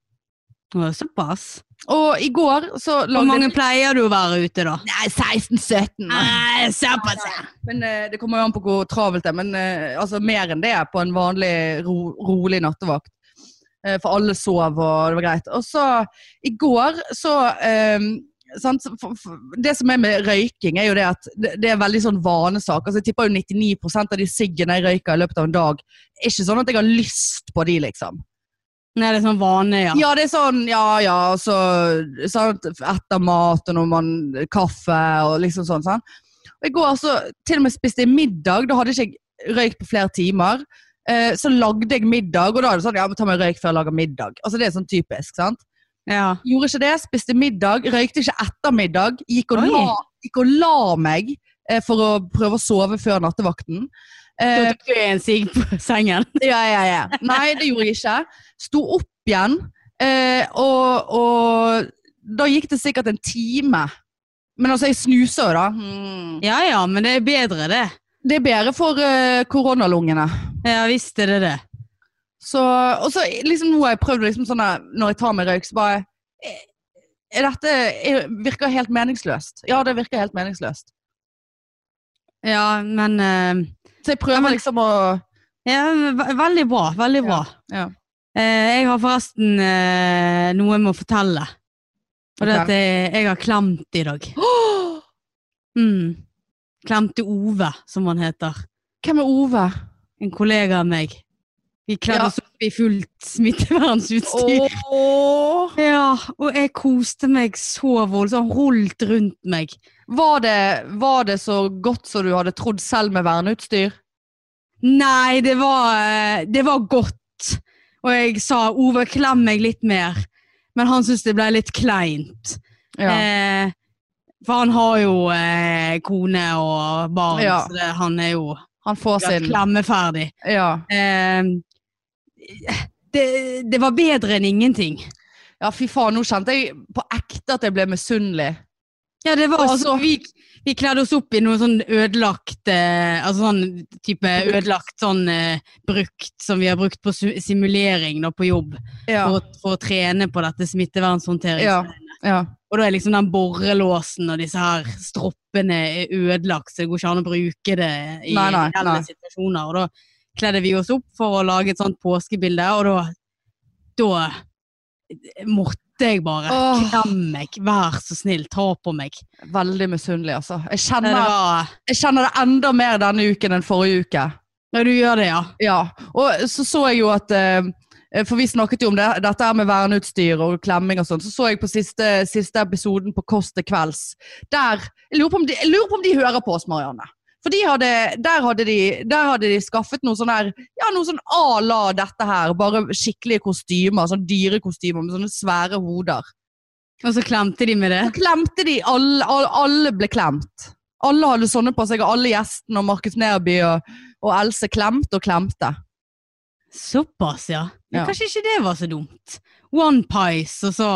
[SPEAKER 2] Å, Såpass.
[SPEAKER 1] Og i går så
[SPEAKER 2] Hvor
[SPEAKER 1] lagde
[SPEAKER 2] mange pleier du å være ute, da?
[SPEAKER 1] Nei, 16-17.
[SPEAKER 2] Nei, såpass, ja.
[SPEAKER 1] Men eh, Det kommer jo an på hvor travelt det er, men eh, altså, mer enn det på en vanlig ro, rolig nattevakt. Eh, for alle sov, og det var greit. Og så i går så eh, sant, så f- f- Det som er med røyking, er jo det at det, det er veldig sånn vanesak. Altså, jeg tipper jo 99 av de siggene jeg røyker i løpet av en dag, er ikke sånn at jeg har lyst på de, liksom.
[SPEAKER 2] Nei, det er sånn vane, ja.
[SPEAKER 1] Ja, det er sånn, ja, ja, og så sant, etter mat og når man kaffe og liksom sånn, sånn. Og i går altså, til og med spiste jeg middag, da hadde ikke jeg røykt på flere timer. Eh, så lagde jeg middag, og da er det sånn, ja, men ta meg røyk før jeg lager middag. Altså det er sånn typisk, sant?
[SPEAKER 2] ja.
[SPEAKER 1] Gjorde ikke det, spiste middag, røykte ikke etter middag, gikk og,
[SPEAKER 2] Oi.
[SPEAKER 1] la, gikk og la meg eh, for å prøve å sove før nattevakten.
[SPEAKER 2] Da
[SPEAKER 1] Eh,
[SPEAKER 2] tok du en sigg på sengen.
[SPEAKER 1] ja, ja, ja. Nei, det gjorde jeg ikke. Sto opp igjen, eh, og, og da gikk det sikkert en time. Men altså, jeg snuser jo da. Mm.
[SPEAKER 2] Ja ja, men det er bedre, det.
[SPEAKER 1] Det er bedre for eh, koronalungene.
[SPEAKER 2] Ja visst er det det.
[SPEAKER 1] Så, og så liksom nå har jeg prøvd liksom sånn at når jeg tar meg røyk, så bare eh, er Dette er, virker helt meningsløst. Ja, det virker helt meningsløst.
[SPEAKER 2] Ja, men eh,
[SPEAKER 1] Så jeg prøver liksom å
[SPEAKER 2] Ja, ve- veldig bra. Veldig bra.
[SPEAKER 1] Ja, ja.
[SPEAKER 2] Eh, jeg har forresten eh, noe jeg må fortelle. Og det
[SPEAKER 1] Ok.
[SPEAKER 2] er at eh, jeg, jeg har klemt i dag. Mm. Klemte Ove, som han heter.
[SPEAKER 1] Hvem er Ove?
[SPEAKER 2] En kollega av meg. Vi kledde
[SPEAKER 1] Ja.
[SPEAKER 2] oss opp i fullt smittevernutstyr.
[SPEAKER 1] Åh.
[SPEAKER 2] Ja, og jeg koste meg så voldsomt. Han holdt rundt meg.
[SPEAKER 1] Var det, var det så godt som du hadde trodd selv med verneutstyr?
[SPEAKER 2] Nei, det var, eh, det var godt. Og jeg sa Ove, klem meg litt mer. Men han syntes det ble litt kleint. Eh, for han har jo eh, kone og barn,
[SPEAKER 1] Ja.
[SPEAKER 2] så det, han er jo
[SPEAKER 1] Han får sin
[SPEAKER 2] klemmeferdig.
[SPEAKER 1] ja.
[SPEAKER 2] Eh, det, det var bedre enn ingenting.
[SPEAKER 1] ja, fy faen, nå kjente jeg på ekte at jeg ble misunnelig.
[SPEAKER 2] Ja, det var
[SPEAKER 1] Altså-
[SPEAKER 2] altså, vi, vi kledde oss opp i noe sånn ødelagt eh, Altså sånn type ødelagt sånn eh, brukt som vi har brukt på su- simulering da på jobb.
[SPEAKER 1] Ja.
[SPEAKER 2] For, å- for å trene på dette smittevernshåndteringen.
[SPEAKER 1] Ja. ja.
[SPEAKER 2] Og da er liksom den borrelåsen og disse her stroppene er ødelagt, så det går ikke an å bruke det i
[SPEAKER 1] Nei, nei,
[SPEAKER 2] reelle
[SPEAKER 1] nei.
[SPEAKER 2] situasjoner. Og da kledde vi oss opp for å lage et sånt påskebilde, og da, da måtte jeg bare
[SPEAKER 1] Åh.
[SPEAKER 2] klem meg, vær så snill, ta på meg.
[SPEAKER 1] Veldig misunnelig, altså. Jeg
[SPEAKER 2] Det
[SPEAKER 1] kjenner,
[SPEAKER 2] var,
[SPEAKER 1] jeg kjenner det enda mer denne uken enn forrige uke.
[SPEAKER 2] ja, du gjør det, ja.
[SPEAKER 1] Ja. Og så så jeg jo at eh, For vi snakket jo om det, dette her med verneutstyr og klemming og sånn. Så så jeg på siste, siste episoden på Kåss til kvelds. Der jeg lurer, på om de, jeg lurer på om de hører på oss, Marianne. For de hadde, der, hadde de, der hadde de skaffet noe sånn her Ja, noe sånn à la dette her. Bare skikkelige kostymer. Sånn dyre kostymer med sånne svære hoder.
[SPEAKER 2] Og så klemte de med det.
[SPEAKER 1] Så klemte de, alle, alle, alle ble klemt. Alle hadde sånne på seg, og alle gjestene og Markus Neby og, og Else klemte og klemte.
[SPEAKER 2] Såpass, ja.
[SPEAKER 1] Ja.
[SPEAKER 2] Men kanskje ikke det var så dumt. One pies, og så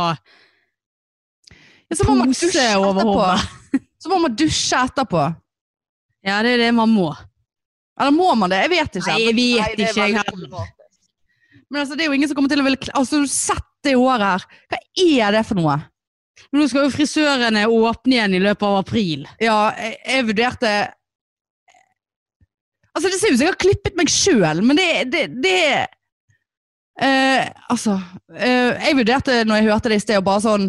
[SPEAKER 1] Ja, så må man
[SPEAKER 2] Pose
[SPEAKER 1] dusje
[SPEAKER 2] over
[SPEAKER 1] etterpå.
[SPEAKER 2] hodet.
[SPEAKER 1] Så må man dusje etterpå.
[SPEAKER 2] Ja, det er det man må.
[SPEAKER 1] Eller må man det? Jeg vet ikke.
[SPEAKER 2] Nei, jeg vet
[SPEAKER 1] Nei, det er
[SPEAKER 2] ikke, jeg
[SPEAKER 1] veldig
[SPEAKER 2] heller.
[SPEAKER 1] problematisk. Men altså, det er jo ingen som kommer til å ville kle- Altså, du sett det håret her. Hva er det for noe?
[SPEAKER 2] Men nå skal jo frisørene åpne igjen i løpet av april.
[SPEAKER 1] Ja, jeg, jeg vurderte Altså, det ser ut som jeg har klippet meg sjøl, men det, det, det Eh, Altså eh, Jeg vurderte når jeg hørte det i sted, å bare sånn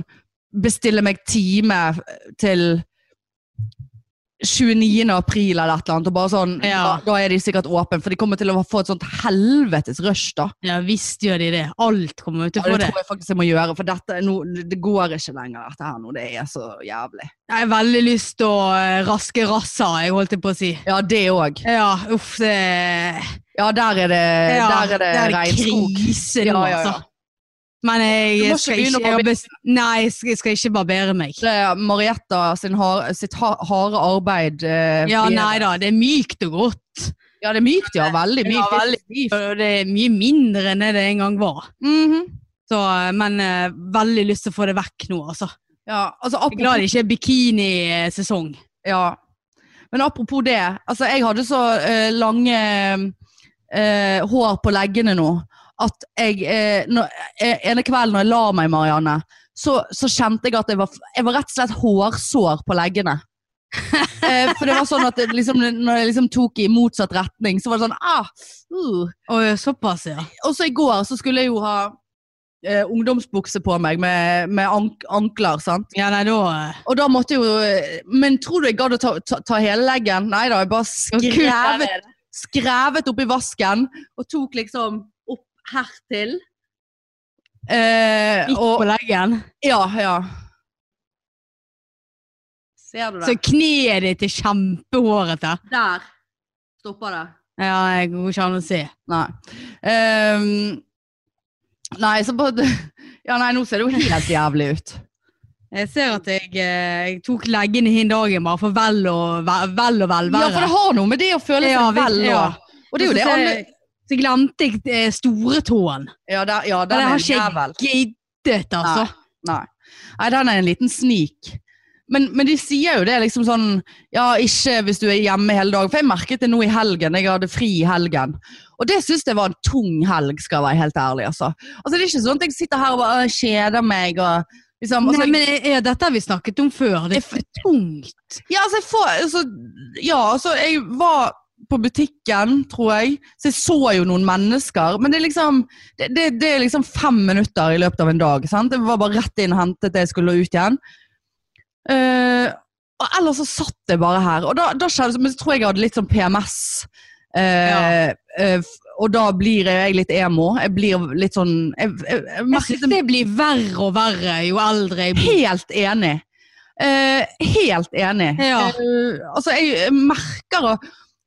[SPEAKER 1] bestille meg time til 29. april eller et eller annet. Og bare sånn,
[SPEAKER 2] Ja.
[SPEAKER 1] da, da er de sikkert åpne, for de kommer til å få et sånt helvetes rush da.
[SPEAKER 2] Ja visst gjør de det. Alt kommer
[SPEAKER 1] Ja,
[SPEAKER 2] ut til å få
[SPEAKER 1] det
[SPEAKER 2] det.
[SPEAKER 1] tror jeg faktisk jeg må gjøre, for dette, er noe- det går ikke lenger, dette her nå. Det er så jævlig.
[SPEAKER 2] Jeg har veldig lyst til å eh, raske rassa, jeg holdt jeg på å si.
[SPEAKER 1] Ja, det òg.
[SPEAKER 2] Ja, uff, det
[SPEAKER 1] Ja, der er det, Eh, der er det,
[SPEAKER 2] der er det
[SPEAKER 1] regnskog.
[SPEAKER 2] krise nå,
[SPEAKER 1] Ja, ja, ja.
[SPEAKER 2] altså. Men jeg,
[SPEAKER 1] Du må ikke
[SPEAKER 2] skal
[SPEAKER 1] begynne
[SPEAKER 2] ikke,
[SPEAKER 1] å
[SPEAKER 2] jeg, har
[SPEAKER 1] barbere-
[SPEAKER 2] bes- Nei, jeg skal, jeg skal ikke barbere meg.
[SPEAKER 1] Det er Marietta sin har, sitt ha, harde arbeid. eh,
[SPEAKER 2] Ja,
[SPEAKER 1] flere-
[SPEAKER 2] nei da, det er mykt og godt.
[SPEAKER 1] ja, det er mykt, ja. Veldig
[SPEAKER 2] Ja,
[SPEAKER 1] mykt.
[SPEAKER 2] veldig Og det er mye mindre enn det det en gang var.
[SPEAKER 1] Mhm.
[SPEAKER 2] Så, eh, men eh, veldig lyst til å få det vekk nå, altså.
[SPEAKER 1] ja, altså,
[SPEAKER 2] Jeg er glad det ikke er bikinisesong.
[SPEAKER 1] Ja. Men apropos det. Altså, jeg hadde så eh, lange eh, hår på leggene nå at jeg eh, når, eh, ene kvelden når jeg la meg, Marianne, så, så kjente jeg at jeg var, jeg var rett og slett hårsår på leggene. eh, for det var sånn at det, liksom, når jeg liksom tok i motsatt retning, så var det sånn ah, uh.
[SPEAKER 2] Og såpass, ja.
[SPEAKER 1] Og så i går så skulle jeg jo ha eh, ungdomsbukse på meg med, med ank ankler, sant.
[SPEAKER 2] Ja, nei, da eh,
[SPEAKER 1] Og da måtte jeg jo Men tror du jeg gadd å ta, ta, ta hele leggen? Nei da, jeg bare skrevet, skrevet opp i vasken og tok liksom opp hertil. Eh,
[SPEAKER 2] Midt
[SPEAKER 1] og
[SPEAKER 2] på leggen.
[SPEAKER 1] Ja, ja. Ser du det?
[SPEAKER 2] Så kneet ditt er kjempehårete.
[SPEAKER 1] Der stopper det.
[SPEAKER 2] Ja, jeg går ikke an å se.
[SPEAKER 1] Nei. Ehm, nei, så bare Ja, nei, nå ser det jo helt jævlig ut.
[SPEAKER 2] Jeg ser at jeg, eh, jeg tok leggene hin dagen bare for vel og vel, vel og vel
[SPEAKER 1] Ja, for det har noe med det å føle seg
[SPEAKER 2] Ja, vi-
[SPEAKER 1] vel og
[SPEAKER 2] ja.
[SPEAKER 1] Og det er jo det alle
[SPEAKER 2] Så glemte jeg eh, storetåen.
[SPEAKER 1] Ja, der, ja,
[SPEAKER 2] Den
[SPEAKER 1] den
[SPEAKER 2] har
[SPEAKER 1] er
[SPEAKER 2] ikke
[SPEAKER 1] jævel.
[SPEAKER 2] jeg giddet, altså.
[SPEAKER 1] Nei. Nei, den er en liten snik. Men, men de sier jo det liksom sånn Ja, ikke hvis du er hjemme hele dagen. For jeg merket det nå i helgen. Jeg hadde fri i helgen. Og det syns jeg var en tung helg, skal jeg være helt ærlig. Altså, altså det er ikke sånn at jeg sitter her og bare øh, kjeder meg og liksom altså,
[SPEAKER 2] Nei, men eh, dette har vi snakket om før. Det er tungt.
[SPEAKER 1] Ja, altså, jeg får altså, Ja, altså, jeg var på butikken, tror jeg, så jeg så jo noen mennesker. Men det er liksom det, det, det er liksom fem minutter i løpet av en dag. sant? Jeg var bare rett inn, hentet det jeg skulle, og ut igjen. Eh, og ellers så satt jeg bare her. Og da, da skjedde det sånn- Men så tror jeg jeg hadde litt sånn PMS. Eh, eh, f- og da blir jeg litt emo. Jeg blir litt sånn Jeg, jeg, jeg
[SPEAKER 2] Jeg
[SPEAKER 1] merket
[SPEAKER 2] synes det blir verre og verre jo eldre jeg blir.
[SPEAKER 1] Helt enig. Eh, helt enig.
[SPEAKER 2] Ja.
[SPEAKER 1] Eh, altså, jeg merker og,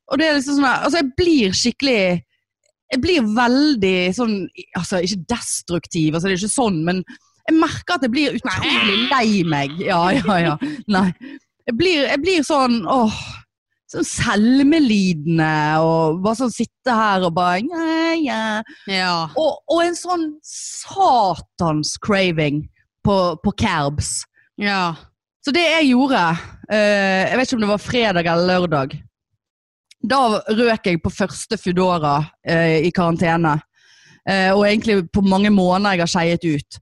[SPEAKER 1] og det er liksom sånn her- altså, Jeg blir skikkelig Jeg blir veldig sånn altså, Ikke destruktiv, altså, det er ikke sånn, men jeg merker at jeg blir utrolig lei meg. Ja, ja, ja. Nei. Jeg blir, jeg blir sånn åh, sånn selvmelidende og bare sånn sitte her og bare ja, ja.
[SPEAKER 2] Ja.
[SPEAKER 1] Og, og en sånn satans craving på, på kerbs.
[SPEAKER 2] ja.
[SPEAKER 1] Så det jeg gjorde, eh, jeg vet ikke om det var fredag eller lørdag, da røk jeg på første Foodora eh, i karantene. Eh, og egentlig på mange måneder jeg har skeiet ut.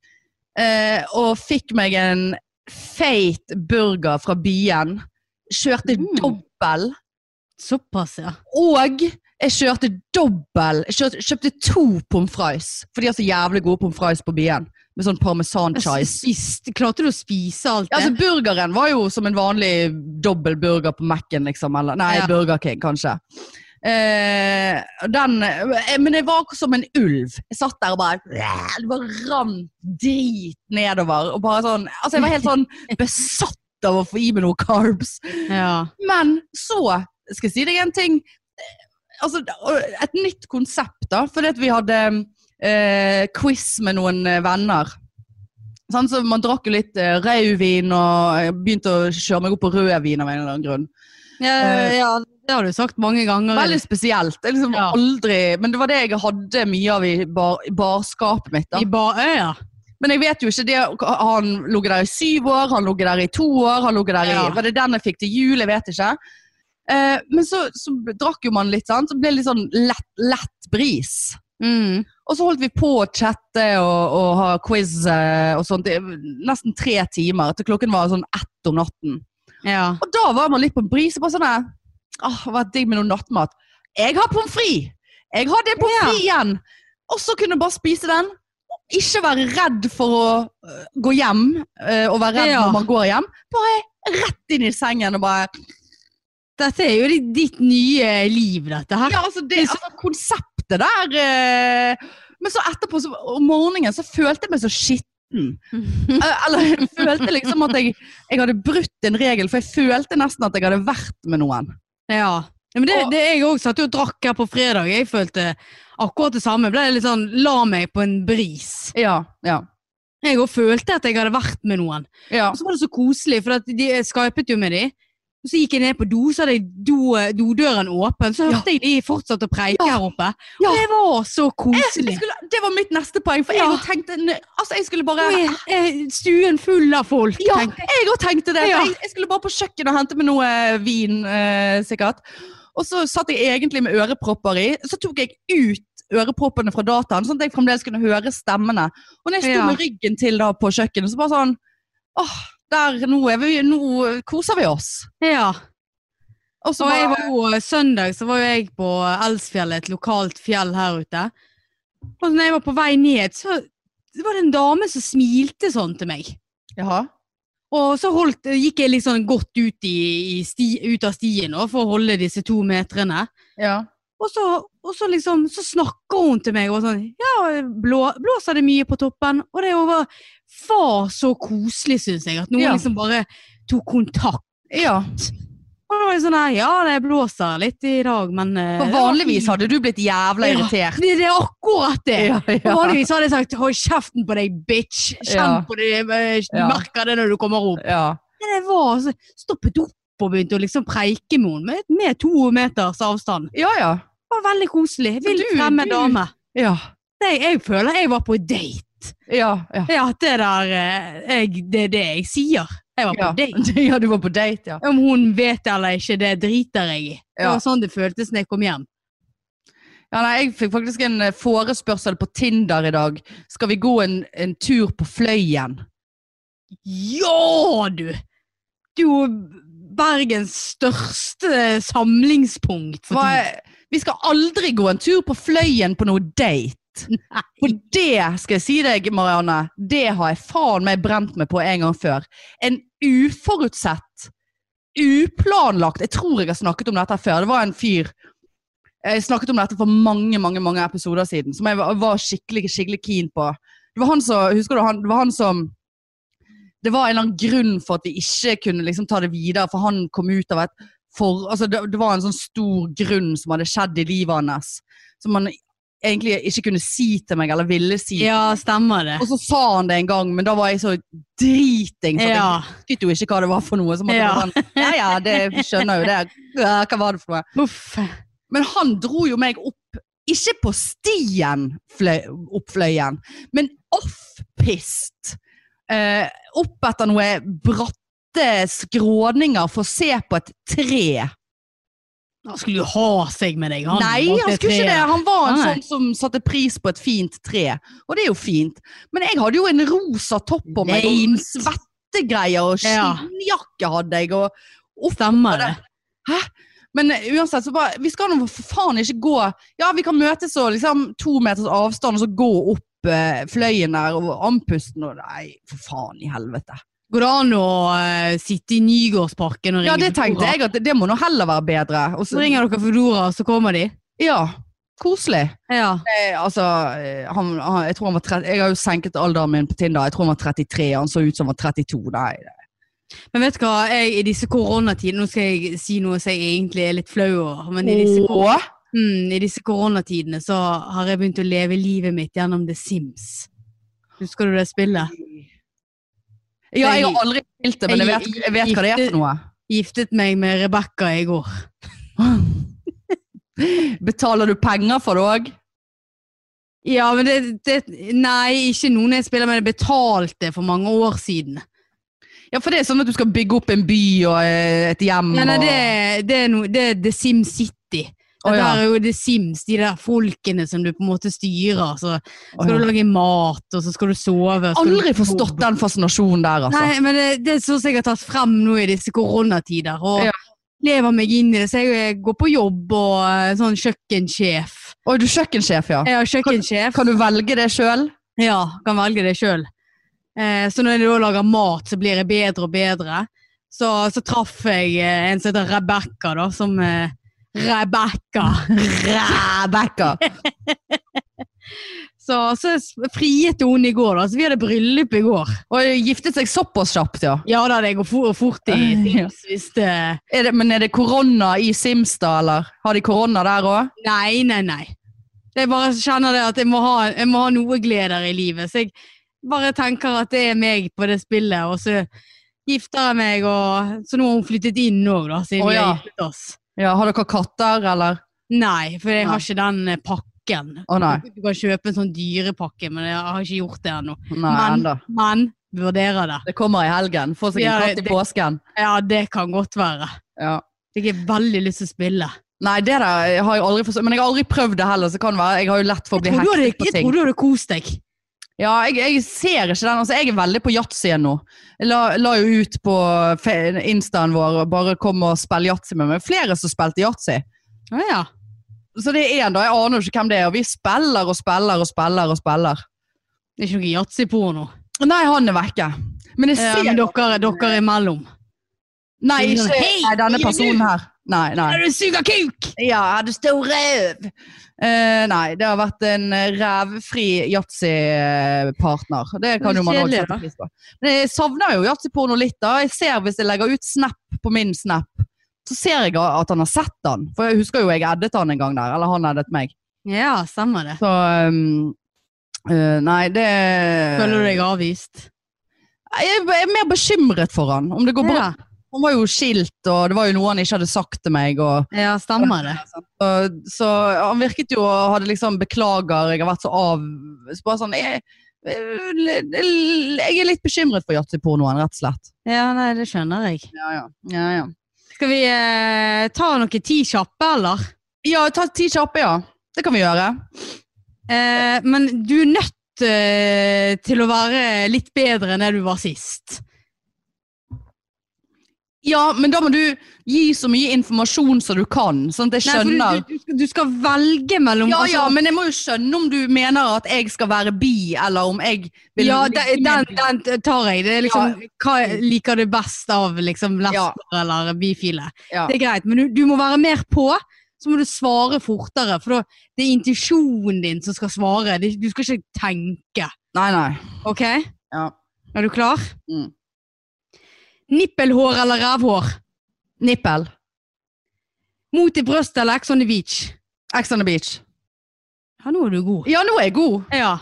[SPEAKER 1] Eh, og fikk meg en feit burger fra byen. Kjørte
[SPEAKER 2] Mm.
[SPEAKER 1] dobbel.
[SPEAKER 2] Såpass, ja.
[SPEAKER 1] Og jeg kjørte dobbel. Jeg kjørte, kjøpte to pommes frites. For de har så jævlig gode pommes frites på byen. Med sånn parmesan chives.
[SPEAKER 2] Spiste, klarte du å spise alt
[SPEAKER 1] Ja, altså
[SPEAKER 2] det?
[SPEAKER 1] Burgeren var jo som en vanlig dobbel burger på Mac-en, liksom. Eller, nei,
[SPEAKER 2] Ja.
[SPEAKER 1] Burger King, kanskje. Eh, den, eh, men jeg var som en ulv. Jeg satt der og bare Det bare rant drit nedover. Og bare sånn, altså Jeg var helt sånn besatt av å få i meg noe carbs.
[SPEAKER 2] ja.
[SPEAKER 1] Men så skal jeg si deg en ting. Altså, et nytt konsept, da. Fordi at vi hadde eh, quiz med noen eh, venner. Sånn, så man drakk jo litt eh, rødvin, og jeg begynte å kjøre meg opp på rødvin av en eller annen grunn.
[SPEAKER 2] Ja, ja, det har du sagt mange ganger.
[SPEAKER 1] Veldig spesielt. Jeg liksom
[SPEAKER 2] Mm. Ja.
[SPEAKER 1] aldri, men det var det jeg hadde mye av i bar, i barskapet mitt. da.
[SPEAKER 2] I Baøya.
[SPEAKER 1] Men jeg vet jo ikke det, Han lå der i syv år, han lå der i to år, han lå der i
[SPEAKER 2] Ja.
[SPEAKER 1] Var det den jeg fikk til jul? Jeg vet ikke. Eh, men så, så drakk jo man litt, sant? så ble det litt sånn lett, lett bris.
[SPEAKER 2] Mm.
[SPEAKER 1] Og så holdt vi på å chatte og, og ha quiz eh, og sånt i nesten tre timer. Til klokken var sånn ett om natten.
[SPEAKER 2] Ja.
[SPEAKER 1] Og da var man litt på en bris og bare sånn der, Åh, det var digg med noe nattmat. Jeg har pommes frites! Jeg hadde en pommes
[SPEAKER 2] Ja.
[SPEAKER 1] frites igjen! Og så kunne jeg bare spise den. og Ikke være redd for å øh, gå hjem, øh, og være redd
[SPEAKER 2] Ja.
[SPEAKER 1] når man går hjem. Bare rett inn i sengen og bare
[SPEAKER 2] Dette er jo ditt, ditt nye liv, dette her.
[SPEAKER 1] Ja, altså, det, altså konseptet der øh, Men så etterpå, så, om morgenen, så følte jeg meg så skitten. Eh, Eller jeg følte liksom at jeg, jeg hadde brutt en regel, for jeg følte nesten at jeg hadde vært med noen.
[SPEAKER 2] Ja. Ja, men det,
[SPEAKER 1] Og-
[SPEAKER 2] det jeg òg satt jo og drakk her på fredag. Jeg følte akkurat det samme. Ble litt sånn La meg på en bris.
[SPEAKER 1] Ja, ja.
[SPEAKER 2] Jeg òg følte at jeg hadde vært med noen.
[SPEAKER 1] ja.
[SPEAKER 2] Og så var det så koselig, for at de jeg skypet jo med de. Og så gikk jeg ned på do, så hadde jeg do- eh, dodøren åpen. Så
[SPEAKER 1] Ja.
[SPEAKER 2] hørte jeg de fortsatte å preike
[SPEAKER 1] Ja.
[SPEAKER 2] her oppe.
[SPEAKER 1] Ja. Eh,
[SPEAKER 2] Og det var så
[SPEAKER 1] Jeg
[SPEAKER 2] koselig.
[SPEAKER 1] skulle, det var mitt neste poeng, for jeg
[SPEAKER 2] Ja.
[SPEAKER 1] òg tenkte nø- Altså, jeg skulle bare
[SPEAKER 2] Nå er- er Eh, Stuen full av folk.
[SPEAKER 1] Ja,
[SPEAKER 2] tenkte
[SPEAKER 1] jeg òg tenkte det. for
[SPEAKER 2] Ja.
[SPEAKER 1] Jeg, jeg skulle bare på kjøkkenet og hente meg noe vin, eh, sikkert. Og så satt jeg egentlig med ørepropper i. Så tok jeg ut øreproppene fra dataen, sånn at jeg fremdeles kunne høre stemmene. Og når jeg sto
[SPEAKER 2] Ja.
[SPEAKER 1] med ryggen til da på kjøkkenet, så bare sånn Åh, der, nå, er vi, nå koser vi oss.
[SPEAKER 2] jeg. Ja.
[SPEAKER 1] Og så
[SPEAKER 2] Og jeg
[SPEAKER 1] bare
[SPEAKER 2] var jo, eh, søndag så var jo jeg på Elsfjellet, et lokalt fjell her ute. Og når jeg var på vei ned, så var det en dame som smilte sånn til meg.
[SPEAKER 1] Jaha.
[SPEAKER 2] Og så holdt, gikk jeg litt sånn godt ut, i, i sti, ut av stien nå, for å holde disse to metrene.
[SPEAKER 1] Ja.
[SPEAKER 2] Og så, og så liksom, så snakker hun til meg og sånn, ja, blå, blåser det mye på toppen? Og det var, var så koselig, synes jeg, at noen
[SPEAKER 1] Ja.
[SPEAKER 2] liksom bare tok kontakt.
[SPEAKER 1] ja.
[SPEAKER 2] Eh, Og da var jeg sånn her, ja, det blåser litt i dag, men... eh,
[SPEAKER 1] For
[SPEAKER 2] det var
[SPEAKER 1] vanligvis
[SPEAKER 2] fint.»
[SPEAKER 1] hadde du blitt jævla
[SPEAKER 2] Ja.
[SPEAKER 1] irritert.
[SPEAKER 2] Det, det er akkurat det. Og
[SPEAKER 1] ja.
[SPEAKER 2] Vanligvis hadde jeg sagt 'hold kjeften på deg, bitch'. Kjenn
[SPEAKER 1] Ja.
[SPEAKER 2] på det, eh,
[SPEAKER 1] Ja.
[SPEAKER 2] merker det når du kommer opp.
[SPEAKER 1] ja.
[SPEAKER 2] Men jeg var så stoppet opp og begynte å liksom preike med henne med, med to meters avstand.
[SPEAKER 1] Ja, ja.
[SPEAKER 2] Det var veldig
[SPEAKER 1] Så
[SPEAKER 2] koselig. Vilt
[SPEAKER 1] du-
[SPEAKER 2] fremme
[SPEAKER 1] du-
[SPEAKER 2] dame.
[SPEAKER 1] Ja.
[SPEAKER 2] Det, jeg føler jeg var på date.
[SPEAKER 1] Ja. ja.
[SPEAKER 2] Ja, at det der eh, jeg, Det er det jeg sier. Jeg var på
[SPEAKER 1] Ja.
[SPEAKER 2] date.
[SPEAKER 1] ja, du var på date, ja.
[SPEAKER 2] Om hun vet det eller ikke, det driter jeg i. Det
[SPEAKER 1] Ja.
[SPEAKER 2] var sånn det føltes når jeg kom hjem.
[SPEAKER 1] Ja, nei, jeg fikk faktisk en eh, forespørsel på Tinder i dag. Skal vi gå en, en tur på Fløyen?
[SPEAKER 2] Ja, du! Du er jo Bergens største samlingspunkt for
[SPEAKER 1] Hva,
[SPEAKER 2] tiden.
[SPEAKER 1] er- vi skal aldri gå en tur på Fløyen på noe date. For det skal jeg si deg, Marianne, det har jeg faen meg brent meg på en gang før. En uforutsett, uplanlagt Jeg tror jeg har snakket om dette før. Det var en fyr Jeg snakket om dette for mange mange, mange episoder siden, som jeg var- var skikkelig skikkelig keen på. Det var han som, Husker du han, det var han som Det var en eller annen grunn for at vi ikke kunne liksom ta det videre, for han kom ut av et for, altså det, det var en sånn stor grunn som hadde skjedd i livet hans, som han egentlig ikke kunne si til meg, eller ville si.
[SPEAKER 2] Ja, stemmer det.
[SPEAKER 1] Og så sa han det en gang, men da var jeg så driting, for
[SPEAKER 2] Ja.
[SPEAKER 1] jeg husket jo ikke hva det var for noe. Så måtte jeg
[SPEAKER 2] Ja.
[SPEAKER 1] bare sånn, ja, ja, det vi skjønner jo det. Ja, Hva var det for noe?
[SPEAKER 2] Uff.
[SPEAKER 1] Men han dro jo meg opp, ikke på stien fløy, opp fløyen, men off-pist. Eh, opp etter noe bratte skråninger for å se på et tre.
[SPEAKER 2] Han skulle jo ha seg med deg, han.
[SPEAKER 1] Nei, han skulle ikke det. Han var en
[SPEAKER 2] Nei.
[SPEAKER 1] sånn som satte pris på et fint tre. Og det er jo fint. Men jeg hadde jo en rosa topp på meg, og
[SPEAKER 2] Lame.
[SPEAKER 1] svettegreier, og
[SPEAKER 2] Ja.
[SPEAKER 1] skinnjakke hadde jeg. Og,
[SPEAKER 2] Stemmer det.
[SPEAKER 1] men eh, uansett, så bare Vi skal nå for faen ikke gå Ja, vi kan møtes og liksom to meters avstand, og så gå opp eh, fløyen der og andpusten og Nei, for faen i helvete.
[SPEAKER 2] Går det an å eh, sitte i Nygårdsparken og ringe
[SPEAKER 1] Ja, det tenkte jeg at det må nå heller være bedre. Og
[SPEAKER 2] Så
[SPEAKER 1] så,
[SPEAKER 2] ringer dere Foodora, så kommer de.
[SPEAKER 1] ja, koselig.
[SPEAKER 2] Ja.
[SPEAKER 1] Eh, altså, eh, han, han, jeg, tror han var 30, jeg har jo senket alderen min på Tinder. Jeg tror han var 33, han så ut som han var 32. Nei. det-
[SPEAKER 2] Men vet du hva, jeg, i disse koronatider Nå skal jeg si noe som jeg egentlig er litt flau over. Men i disse, kor-
[SPEAKER 1] Åh,
[SPEAKER 2] mm, i disse koronatidene så har jeg begynt å leve livet mitt gjennom The Sims. Husker du det spillet?
[SPEAKER 1] Ja, jeg har aldri spilt det, men jeg vet, jeg vet hva det er for noe.
[SPEAKER 2] Giftet meg med Rebekka i går.
[SPEAKER 1] Betaler du penger for det òg?
[SPEAKER 2] Ja, men det, det Nei, ikke noen jeg spiller med. Jeg betalte for mange år siden.
[SPEAKER 1] Ja, for det er sånn at du skal bygge opp en by og eh, et hjem
[SPEAKER 2] Ja, nei,
[SPEAKER 1] og
[SPEAKER 2] det, det, er noe- det er The Sim City. Det
[SPEAKER 1] Å, ja.
[SPEAKER 2] der er jo The Sims, de der folkene som du på en måte styrer. Så
[SPEAKER 1] Å,
[SPEAKER 2] skal
[SPEAKER 1] ja.
[SPEAKER 2] du lage mat, og så skal du sove. og skal du-
[SPEAKER 1] Aldri forstått den fascinasjonen der, altså.
[SPEAKER 2] Nei, men det, det er sånn som jeg har tatt frem nå i disse koronatider. Og
[SPEAKER 1] Ja.
[SPEAKER 2] lever meg inn i det. Så jeg går på jobb og eh, sånn kjøkkensjef.
[SPEAKER 1] Oi, du er kjøkkensjef, ja.
[SPEAKER 2] Jeg har kjøkkensjef.
[SPEAKER 1] Kan du velge det sjøl?
[SPEAKER 2] Ja, kan velge det sjøl. Eh, så når jeg da lager mat, så blir jeg bedre og bedre. Så, så traff jeg eh, en som heter Rebekka, da, som eh, Rebekka.
[SPEAKER 1] Rebekka.
[SPEAKER 2] Så, så s- friet hun i går, da. Så vi hadde bryllup i går.
[SPEAKER 1] Og giftet seg såpass kjapt, ja.
[SPEAKER 2] Ja da, det går for, fort i
[SPEAKER 1] Ja.
[SPEAKER 2] Sims hvis det
[SPEAKER 1] Er det, men er det korona i Sims, da, eller? Har de korona der òg?
[SPEAKER 2] Nei, nei, nei. Jeg bare kjenner det at jeg må ha, jeg må ha noe gleder i livet. Så jeg bare tenker at det er meg på det spillet, og så gifter jeg meg, og så nå har hun flyttet inn nå, da, siden
[SPEAKER 1] Å,
[SPEAKER 2] vi
[SPEAKER 1] ja.
[SPEAKER 2] har giftet oss.
[SPEAKER 1] Ja, har dere katter, eller?
[SPEAKER 2] Nei, for jeg
[SPEAKER 1] Nei.
[SPEAKER 2] har ikke den eh, pakken.
[SPEAKER 1] Å, nei.
[SPEAKER 2] Du kan kjøpe en sånn dyrepakke, men jeg har ikke gjort det ennå.
[SPEAKER 1] Nei,
[SPEAKER 2] men,
[SPEAKER 1] enda.
[SPEAKER 2] men vurderer det.
[SPEAKER 1] Det kommer i helgen. Få seg en
[SPEAKER 2] Ja,
[SPEAKER 1] katt i
[SPEAKER 2] det-
[SPEAKER 1] påsken.
[SPEAKER 2] Ja, det kan godt være.
[SPEAKER 1] Ja.
[SPEAKER 2] Jeg har veldig lyst til å spille.
[SPEAKER 1] Nei, det der har jeg aldri forstått. Men jeg har aldri prøvd det heller, så kan det være. Jeg har jo lett for å
[SPEAKER 2] Jeg
[SPEAKER 1] bli
[SPEAKER 2] tror du hadde,
[SPEAKER 1] hektet på
[SPEAKER 2] jeg
[SPEAKER 1] ting.
[SPEAKER 2] tror du hadde kost deg.
[SPEAKER 1] Ja, jeg, jeg ser ikke den. Altså, jeg er veldig på yatzy nå. Jeg la, la jo ut på fe- instaen vår og bare kom og spill yatzy med meg. Flere som spilte yatzy.
[SPEAKER 2] Å ja.
[SPEAKER 1] Så det er én, da. Jeg aner jo ikke hvem det er. Og vi spiller og spiller og spiller og spiller.
[SPEAKER 2] Det er ikke noe yatzy-porno.
[SPEAKER 1] Nei, han er vekke. Men jeg
[SPEAKER 2] Ja,
[SPEAKER 1] ser
[SPEAKER 2] men dere, dere imellom.
[SPEAKER 1] Nei, ikke
[SPEAKER 2] Hei,
[SPEAKER 1] nei, denne
[SPEAKER 2] hei,
[SPEAKER 1] personen
[SPEAKER 2] du!
[SPEAKER 1] her. Nei, nei.
[SPEAKER 2] du suger kuk!
[SPEAKER 1] Ja, jeg hadde stor røv. nei, det har vært en eh, rævfri yatzy-partner. Det kan
[SPEAKER 2] Det er
[SPEAKER 1] jo man også
[SPEAKER 2] kjedelig,
[SPEAKER 1] sette
[SPEAKER 2] da.
[SPEAKER 1] pris på. Men jeg savner jo yatzy-porno litt. da. Jeg ser Hvis jeg legger ut snap på min snap, så ser jeg at han har sett den. For jeg husker jo jeg eddet han en gang der, eller han eddet meg.
[SPEAKER 2] Ja, stemmer det.
[SPEAKER 1] Så ehm, eh, Nei, det
[SPEAKER 2] Føler du deg avvist?
[SPEAKER 1] Jeg er mer bekymret for han. Om det går bra.
[SPEAKER 2] Ja,
[SPEAKER 1] Han var jo skilt, og det var jo noe han ikke hadde sagt til meg. og...
[SPEAKER 2] ja stemmer det.
[SPEAKER 1] Og så han virket jo og hadde liksom beklager, jeg har vært så av så bare sånn, jeg, jeg er litt bekymret for yatzypornoen, rett og slett.
[SPEAKER 2] Ja, nei, det skjønner jeg.
[SPEAKER 1] Ja, ja. ja, ja.
[SPEAKER 2] Skal vi eh, ta noen ti kjappe, eller?
[SPEAKER 1] ja ta ti kjappe, ja. Det kan vi gjøre.
[SPEAKER 2] Eh, men du er nødt eh, til å være litt bedre enn det du var sist.
[SPEAKER 1] Ja, men da må du gi så mye informasjon som du kan, sånn at jeg
[SPEAKER 2] Nei, for du-
[SPEAKER 1] skjønner.
[SPEAKER 2] Du, du, skal- du skal velge mellom
[SPEAKER 1] Ja,
[SPEAKER 2] altså-
[SPEAKER 1] ja, men jeg må jo skjønne om du mener at jeg skal være bi, eller om jeg vil
[SPEAKER 2] ja,
[SPEAKER 1] ligge
[SPEAKER 2] den,
[SPEAKER 1] med bi.
[SPEAKER 2] den, den tar jeg. Det er liksom, Hva liker du best av liksom
[SPEAKER 1] Ja.
[SPEAKER 2] lesber eller bifile?
[SPEAKER 1] Ja.
[SPEAKER 2] Det er greit, men du, du må være mer på. Så må du svare fortere, for da, det er intuisjonen din som skal svare. Det, du skal ikke tenke.
[SPEAKER 1] Nei, nei.
[SPEAKER 2] OK?
[SPEAKER 1] Ja.
[SPEAKER 2] Er du klar?
[SPEAKER 1] Mm.
[SPEAKER 2] Nippelhår eller rævhår?
[SPEAKER 1] Nippel.
[SPEAKER 2] Mot i brøstet eller Ex on the beach?
[SPEAKER 1] Ex on the beach.
[SPEAKER 2] Ja, nå er du god.
[SPEAKER 1] Ja, nå er jeg god.
[SPEAKER 2] Ja.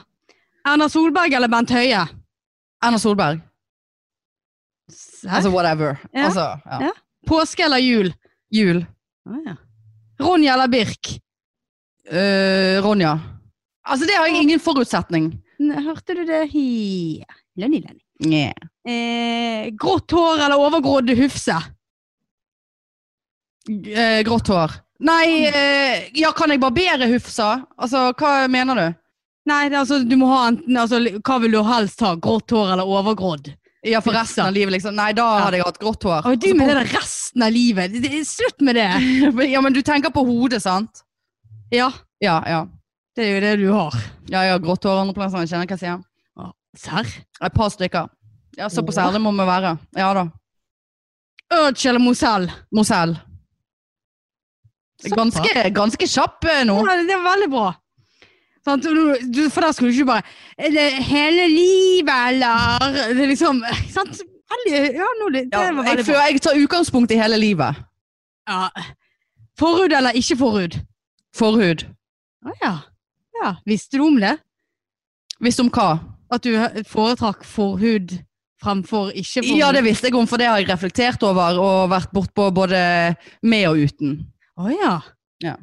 [SPEAKER 2] Erna Solberg eller Bent Høie?
[SPEAKER 1] Erna Solberg.
[SPEAKER 2] Hæ?
[SPEAKER 1] Altså whatever.
[SPEAKER 2] Ja.
[SPEAKER 1] Altså, ja.
[SPEAKER 2] Ja. Påske eller jul?
[SPEAKER 1] Jul.
[SPEAKER 2] Ronja eller Birk?
[SPEAKER 1] Eh, Ronja. Altså, det har jeg ingen forutsetning.
[SPEAKER 2] Nei, Hørte du det? Hi. Lønni, lønni.
[SPEAKER 1] Nye.
[SPEAKER 2] Eh, grått hår eller overgrådd hufse?
[SPEAKER 1] Eh, grått hår. Nei, eh, ja, kan jeg barbere Hufsa? Altså, hva mener du?
[SPEAKER 2] Nei, det, er altså, du må ha enten altså, Hva vil du helst ha? Grått hår eller overgrådd?
[SPEAKER 1] Ja, for resten
[SPEAKER 2] Hufsa.
[SPEAKER 1] av livet, liksom. Nei, da hadde jeg hatt grått hår. Altså,
[SPEAKER 2] Å, du med det der resten av livet. Det- det- Slutt med det!
[SPEAKER 1] ja, men du tenker på hodet, sant?
[SPEAKER 2] Ja,
[SPEAKER 1] Ja, ja.
[SPEAKER 2] det er jo det du har.
[SPEAKER 1] Ja, ja, grått hår andre plasser. Jeg kjenner hva jeg sier.
[SPEAKER 2] Å, Serr?
[SPEAKER 1] Et par stykker. Ja, såpass
[SPEAKER 2] Åh.
[SPEAKER 1] ærlig må vi være. Ja da.
[SPEAKER 2] Urge eller Mozell?
[SPEAKER 1] Mosell.
[SPEAKER 2] Såpass.
[SPEAKER 1] Ganske, ganske kjapp eh, nå.
[SPEAKER 2] Ja, det er veldig bra. Sant? Du- du- For der skulle du ikke bare er det Hele livet, eller Det er liksom Sant? Veldig, ja, nå, det, det
[SPEAKER 1] Ja,
[SPEAKER 2] var veldig
[SPEAKER 1] jeg,
[SPEAKER 2] bra.
[SPEAKER 1] føler jeg tar utgangspunkt i hele livet.
[SPEAKER 2] Ja. Forhud eller ikke forhud?
[SPEAKER 1] Forhud.
[SPEAKER 2] Å ja. ja. Visste du om det?
[SPEAKER 1] Visst om hva?
[SPEAKER 2] At du foretrakk forhud fremfor ikke forhud?
[SPEAKER 1] Ja, det visste jeg om, for det har jeg reflektert over og vært bortpå både med og uten.
[SPEAKER 2] Å ja.
[SPEAKER 1] Ja.
[SPEAKER 2] Ja.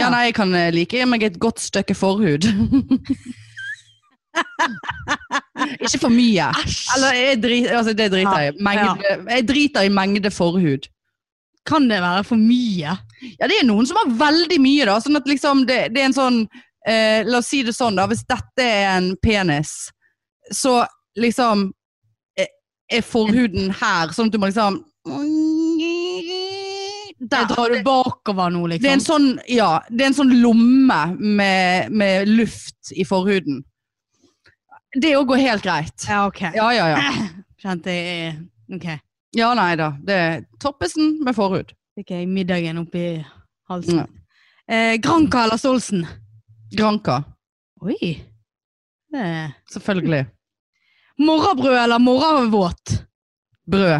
[SPEAKER 1] Ja, nei, jeg kan eh, like meg et godt stykke forhud. Ikke for mye.
[SPEAKER 2] Æsj!
[SPEAKER 1] Eller jeg drit, altså, det driter jeg i. Mengde, jeg driter i mengde forhud.
[SPEAKER 2] kan det være for mye?
[SPEAKER 1] Ja, det er noen som har veldig mye, da. Sånn at liksom det, det er en sånn eh, La oss si det sånn, da. Hvis dette er en penis, så liksom eh, er forhuden her, sånn at du må liksom
[SPEAKER 2] Der
[SPEAKER 1] Der.
[SPEAKER 2] drar du bakover nå,
[SPEAKER 1] Det er en
[SPEAKER 2] liksom.
[SPEAKER 1] sånn, ja, det er en sånn lomme med, med luft i forhuden. Det òg går helt greit.
[SPEAKER 2] Ja, ok.
[SPEAKER 1] Ja, ja, ja.
[SPEAKER 2] Kjente jeg eh, Ok.
[SPEAKER 1] Ja, nei da. Det er Toppesen med forhud.
[SPEAKER 2] Fikk jeg middagen oppi halsen.
[SPEAKER 1] Ja.
[SPEAKER 2] Eh, Granca eller Stolsen?
[SPEAKER 1] Granka.
[SPEAKER 2] Oi. Eh.
[SPEAKER 1] Selvfølgelig.
[SPEAKER 2] Morrabrød eller morravåt?
[SPEAKER 1] Brød.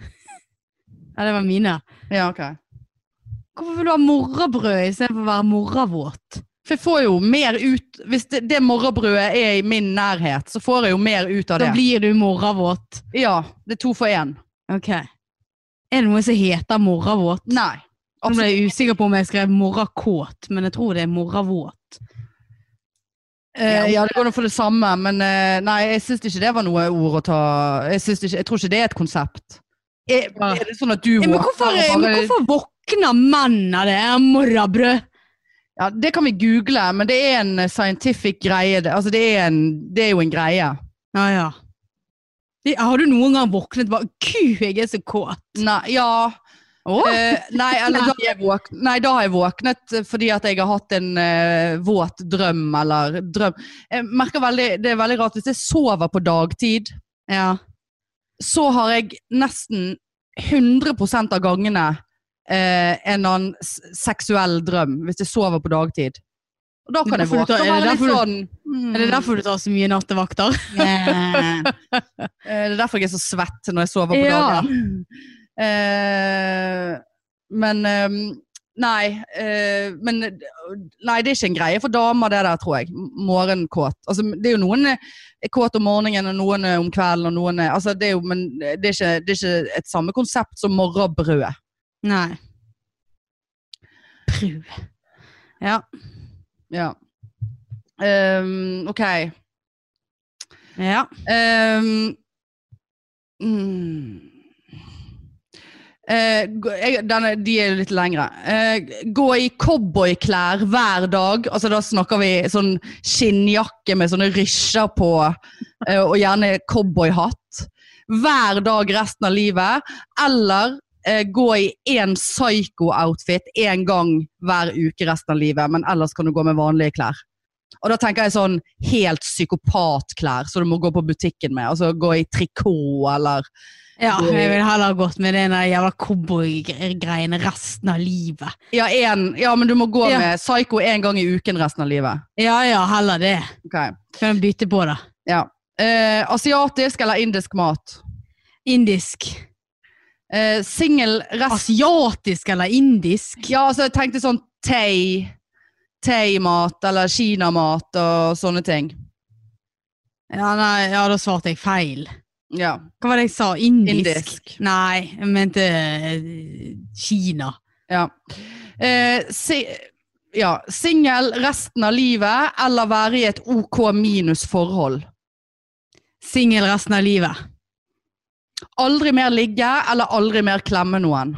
[SPEAKER 2] Ja, det var mine.
[SPEAKER 1] Ja, ok.
[SPEAKER 2] Hvorfor vil du ha morrabrød istedenfor å være morravåt?
[SPEAKER 1] For jeg får jo mer ut Hvis det, det morgenbrødet er i min nærhet, så får jeg jo mer ut av det.
[SPEAKER 2] Da blir du morravåt.
[SPEAKER 1] Ja. Det er to for én.
[SPEAKER 2] Ok. Er det noe som heter morravåt?
[SPEAKER 1] Nei.
[SPEAKER 2] Nå ble jeg usikker på om jeg skrev morrakåt, men jeg tror det er morravåt.
[SPEAKER 1] Eh, ja, det går nå for det samme, men eh, nei, jeg syns ikke det var noe ord å ta Jeg, synes ikke, jeg tror ikke det er et konsept. Er,
[SPEAKER 2] Ja.
[SPEAKER 1] er det sånn at du
[SPEAKER 2] Ja, men, hvorfor,
[SPEAKER 1] våkner og
[SPEAKER 2] men
[SPEAKER 1] bare-
[SPEAKER 2] hvorfor våkner menn av det? Morrabrød?
[SPEAKER 1] Ja, det kan vi google, men det er en eh, scientific greie. Det, altså, det, er en, det er jo en greie.
[SPEAKER 2] Ja, ja. Det- Har du noen gang våknet bare Gud, jeg er så kåt!
[SPEAKER 1] Nei, ja
[SPEAKER 2] Åh,
[SPEAKER 1] eh, nei, eller, da, har jeg våk- nei, da har jeg våknet eh, fordi at jeg har hatt en eh, våt drøm, eller drøm Jeg merker veldig, Det er veldig rart hvis jeg sover på dagtid,
[SPEAKER 2] ja.
[SPEAKER 1] så har jeg nesten 100 av gangene eh, en eller annen s- seksuell drøm hvis jeg sover på dagtid. Og da kan jeg
[SPEAKER 2] Derfor du
[SPEAKER 1] våkne og
[SPEAKER 2] tar- er det
[SPEAKER 1] være litt
[SPEAKER 2] derfor
[SPEAKER 1] sånn mm,
[SPEAKER 2] Er det derfor du tar så mye nattevakter?
[SPEAKER 1] eh, det er derfor jeg er så svett når jeg sover på
[SPEAKER 2] ja.
[SPEAKER 1] dagen. Eh, men ehm, Nei, eh, men nei, det er ikke en greie for damer, det der, tror jeg. M- Morgenkåt. Altså, det er jo noen eh, er kåt om morgenen, og noen er om kvelden, og noen er altså, det er jo, Men det er, ikke, det er ikke et samme konsept som morgenbrødet.
[SPEAKER 2] Nei. Prøv. Ja.
[SPEAKER 1] Ja. Ehm, ok.
[SPEAKER 2] ja.
[SPEAKER 1] Ehm, mm. Eh, gå- jeg, denne, de er jo litt lengre. Eh, gå i cowboyklær hver dag. Altså, da snakker vi sånn skinnjakke med sånne rysjer på, eh, og gjerne cowboyhatt. Hver dag resten av livet. Eller eh, gå i én psycho-outfit én gang hver uke resten av livet, men ellers kan du gå med vanlige klær. Og da tenker jeg sånn helt psykopatklær, så du må gå på butikken med. Altså gå i trikot eller
[SPEAKER 2] Ja, jeg ville heller gått med den der jævla cowboygreiene resten av livet.
[SPEAKER 1] Ja, en, ja men du må gå
[SPEAKER 2] Ja.
[SPEAKER 1] med psycho én gang i uken resten av livet.
[SPEAKER 2] Ja ja, heller det.
[SPEAKER 1] Ok.
[SPEAKER 2] Kan jeg bytte på, da.
[SPEAKER 1] Eh, asiatisk eller indisk mat?
[SPEAKER 2] Indisk.
[SPEAKER 1] Eh, Singel rest...
[SPEAKER 2] Asiatisk eller indisk?
[SPEAKER 1] Ja, altså jeg tenkte sånn thai. Thai-mat eller kinamat og sånne ting.
[SPEAKER 2] Ja, nei, ja, da svarte jeg feil.
[SPEAKER 1] Ja.
[SPEAKER 2] Hva var det jeg sa? Indisk?
[SPEAKER 1] Indisk.
[SPEAKER 2] Nei, jeg mente eh, Kina.
[SPEAKER 1] ja. Eh, si, ja. Singel resten av livet eller være i et OK minus forhold?
[SPEAKER 2] Singel resten av livet.
[SPEAKER 1] Aldri mer ligge eller aldri mer klemme noen.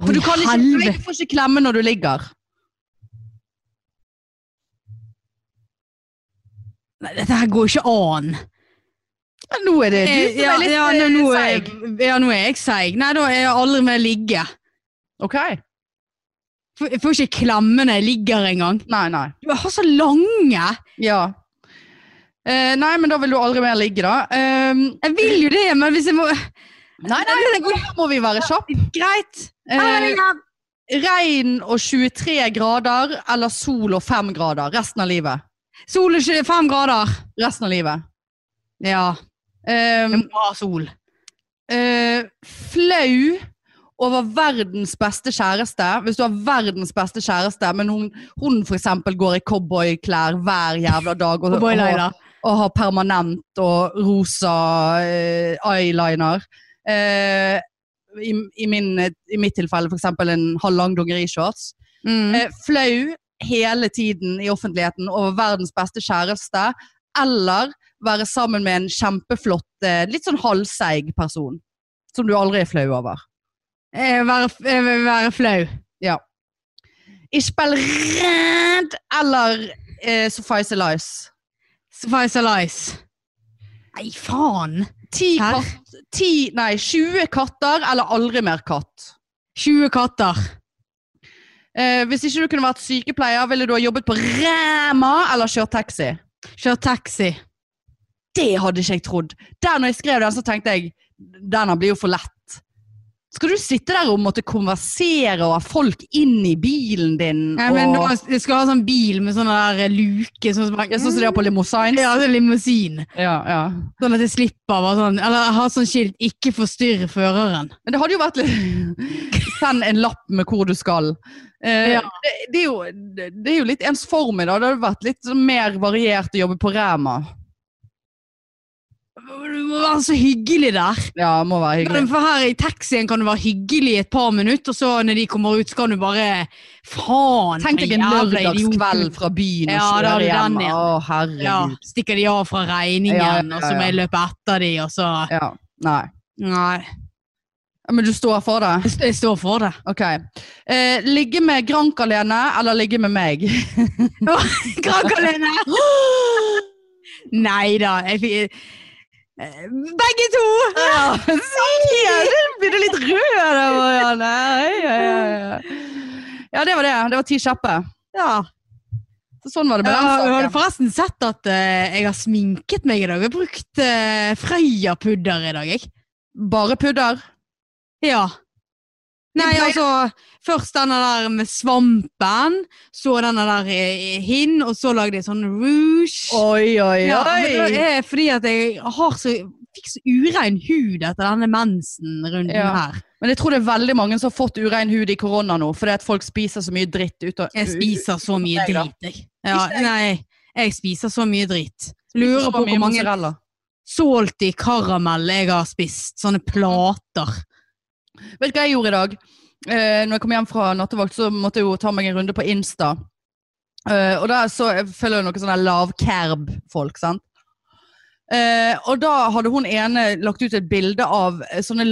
[SPEAKER 1] For
[SPEAKER 2] Oi,
[SPEAKER 1] du kan ikke,
[SPEAKER 2] helvete.
[SPEAKER 1] du får ikke klemme når du ligger.
[SPEAKER 2] Nei, Dette her går ikke an.
[SPEAKER 1] Ja, Nå er det du
[SPEAKER 2] Eh,
[SPEAKER 1] som
[SPEAKER 2] ja,
[SPEAKER 1] er litt
[SPEAKER 2] ja, nå,
[SPEAKER 1] eh,
[SPEAKER 2] nå er
[SPEAKER 1] seig.
[SPEAKER 2] jeg, ja, nå er jeg seig. Nei, da er jeg aldri mer ligge.
[SPEAKER 1] Ok.
[SPEAKER 2] F- Jeg får ikke klemme når jeg ligger engang.
[SPEAKER 1] Nei, nei.
[SPEAKER 2] Du har så lange!
[SPEAKER 1] Ja. Eh, nei, men da vil du aldri mer ligge, da. Ehm,
[SPEAKER 2] Jeg vil jo det, men hvis jeg må
[SPEAKER 1] nei, nei, da må vi være kjappe.
[SPEAKER 2] Greit.
[SPEAKER 1] Eh, regn og 23 grader eller sol og 5 grader resten av livet.
[SPEAKER 2] Sol er 25 grader.
[SPEAKER 1] Resten av livet.
[SPEAKER 2] Ja,
[SPEAKER 1] Ehm,
[SPEAKER 2] jeg må ha sol.
[SPEAKER 1] eh, flau over verdens beste kjæreste. Hvis du har verdens beste kjæreste, men hun, hun for eksempel går i cowboyklær hver jævla dag og, og,
[SPEAKER 2] Cowboyleila.
[SPEAKER 1] og har permanent og rosa eh, eyeliner. Eh, i, i, min, I mitt tilfelle for eksempel en halvlang dongerishorts.
[SPEAKER 2] Mm.
[SPEAKER 1] Eh, flau hele tiden i offentligheten over verdens beste kjæreste, eller være sammen med en kjempeflott, eh, litt sånn halvseig person. Som du aldri er flau over.
[SPEAKER 2] Eh, Være, eh, være flau.
[SPEAKER 1] Ishbel Red eller eh, Suffice Elice.
[SPEAKER 2] Suffice Alice. Nei, faen!
[SPEAKER 1] Ti
[SPEAKER 2] Hæ?
[SPEAKER 1] katt, ti, nei, 20 katter eller aldri mer katt.
[SPEAKER 2] 20 katter.
[SPEAKER 1] Eh, hvis ikke du kunne vært sykepleier, ville du ha jobbet på Rema eller kjørt taxi?
[SPEAKER 2] Kjør taxi.
[SPEAKER 1] Det hadde ikke jeg trodd. Der når jeg skrev den, så tenkte jeg denne blir jo for lett. Skal du sitte der og måtte konversere og ha folk inn i bilen din?
[SPEAKER 2] Nei, men
[SPEAKER 1] og,
[SPEAKER 2] nå, jeg skal ha sånn bil med sånn der luke. Sånn som man,
[SPEAKER 1] ja, sånn som de har på Limousines?
[SPEAKER 2] Ja, sånn limousin.
[SPEAKER 1] Ja, ja.
[SPEAKER 2] Sånn at jeg slipper å være sånn Eller ha sånn skilt 'ikke forstyrr føreren'.
[SPEAKER 1] Men det hadde jo vært litt Send en lapp med hvor du skal. Eh,
[SPEAKER 2] Ja.
[SPEAKER 1] det, det, er jo, det, det er jo litt ens form i dag. Det hadde vært litt sånn mer variert å jobbe på Ræma.
[SPEAKER 2] Du må være så hyggelig der.
[SPEAKER 1] Ja, må være hyggelig.
[SPEAKER 2] Men For her i taxien kan du være hyggelig i et par minutter, og så når de kommer ut, så kan du bare Faen!
[SPEAKER 1] Tenk deg en
[SPEAKER 2] jævla idiot.
[SPEAKER 1] lørdagskveld fra byen
[SPEAKER 2] Ja,
[SPEAKER 1] og
[SPEAKER 2] da
[SPEAKER 1] kjøre
[SPEAKER 2] hadde den
[SPEAKER 1] hjem.
[SPEAKER 2] igjen.
[SPEAKER 1] Å,
[SPEAKER 2] Ja,
[SPEAKER 1] herregud.
[SPEAKER 2] stikker de av fra regningen,
[SPEAKER 1] Ja, ja, ja,
[SPEAKER 2] og så må jeg løpe etter de, og så
[SPEAKER 1] Ja. Nei.
[SPEAKER 2] Nei.
[SPEAKER 1] Ja, Men du står for det?
[SPEAKER 2] Jeg st- jeg står for det.
[SPEAKER 1] Ok. Eh, ligge med Grank alene, eller ligge med meg?
[SPEAKER 2] Krankalene! Nei da, jeg fikk Eh, Begge to!
[SPEAKER 1] Ja, Nå blir du litt rød der, Marianne. Hei, hei, hei. Ja, det var det. Det var ti kjappe.
[SPEAKER 2] Ja.
[SPEAKER 1] Så sånn var det med
[SPEAKER 2] Jeg har
[SPEAKER 1] den
[SPEAKER 2] du
[SPEAKER 1] saken.
[SPEAKER 2] forresten sett at eh, jeg har sminket meg i dag. Jeg har brukt uh, Frøya-pudder i dag, jeg.
[SPEAKER 1] Bare pudder.
[SPEAKER 2] Ja. Nei,
[SPEAKER 1] pleier-
[SPEAKER 2] altså Først denne der med svampen, så denne der eh, hin, og så lagde jeg sånn rouge.
[SPEAKER 1] Oi, oi,
[SPEAKER 2] ja, men det
[SPEAKER 1] oi.
[SPEAKER 2] er fordi at jeg har så, fikk så urein hud etter denne mensen-runden
[SPEAKER 1] Ja.
[SPEAKER 2] her.
[SPEAKER 1] Men jeg tror det er veldig mange som har fått urein hud i korona nå, fordi at folk spiser så mye dritt ut av
[SPEAKER 2] Jeg spiser så mye
[SPEAKER 1] Jeg da.
[SPEAKER 2] drit, jeg. Ja,
[SPEAKER 1] Ikke jeg.
[SPEAKER 2] nei, jeg spiser så mye drit.
[SPEAKER 1] Spiser
[SPEAKER 2] Lurer
[SPEAKER 1] så
[SPEAKER 2] på
[SPEAKER 1] mye
[SPEAKER 2] hvor mange
[SPEAKER 1] mozzarella.
[SPEAKER 2] salty karamell jeg har spist. Sånne plater.
[SPEAKER 1] Vet du hva jeg gjorde i dag? Eh, når jeg kom hjem fra nattevakt, så måtte jeg jo ta meg en runde på Insta. Eh, og der så jeg følger jeg noen sånne lavkerb-folk, sant? Eh, og da hadde hun ene lagt ut et bilde av eh, sånne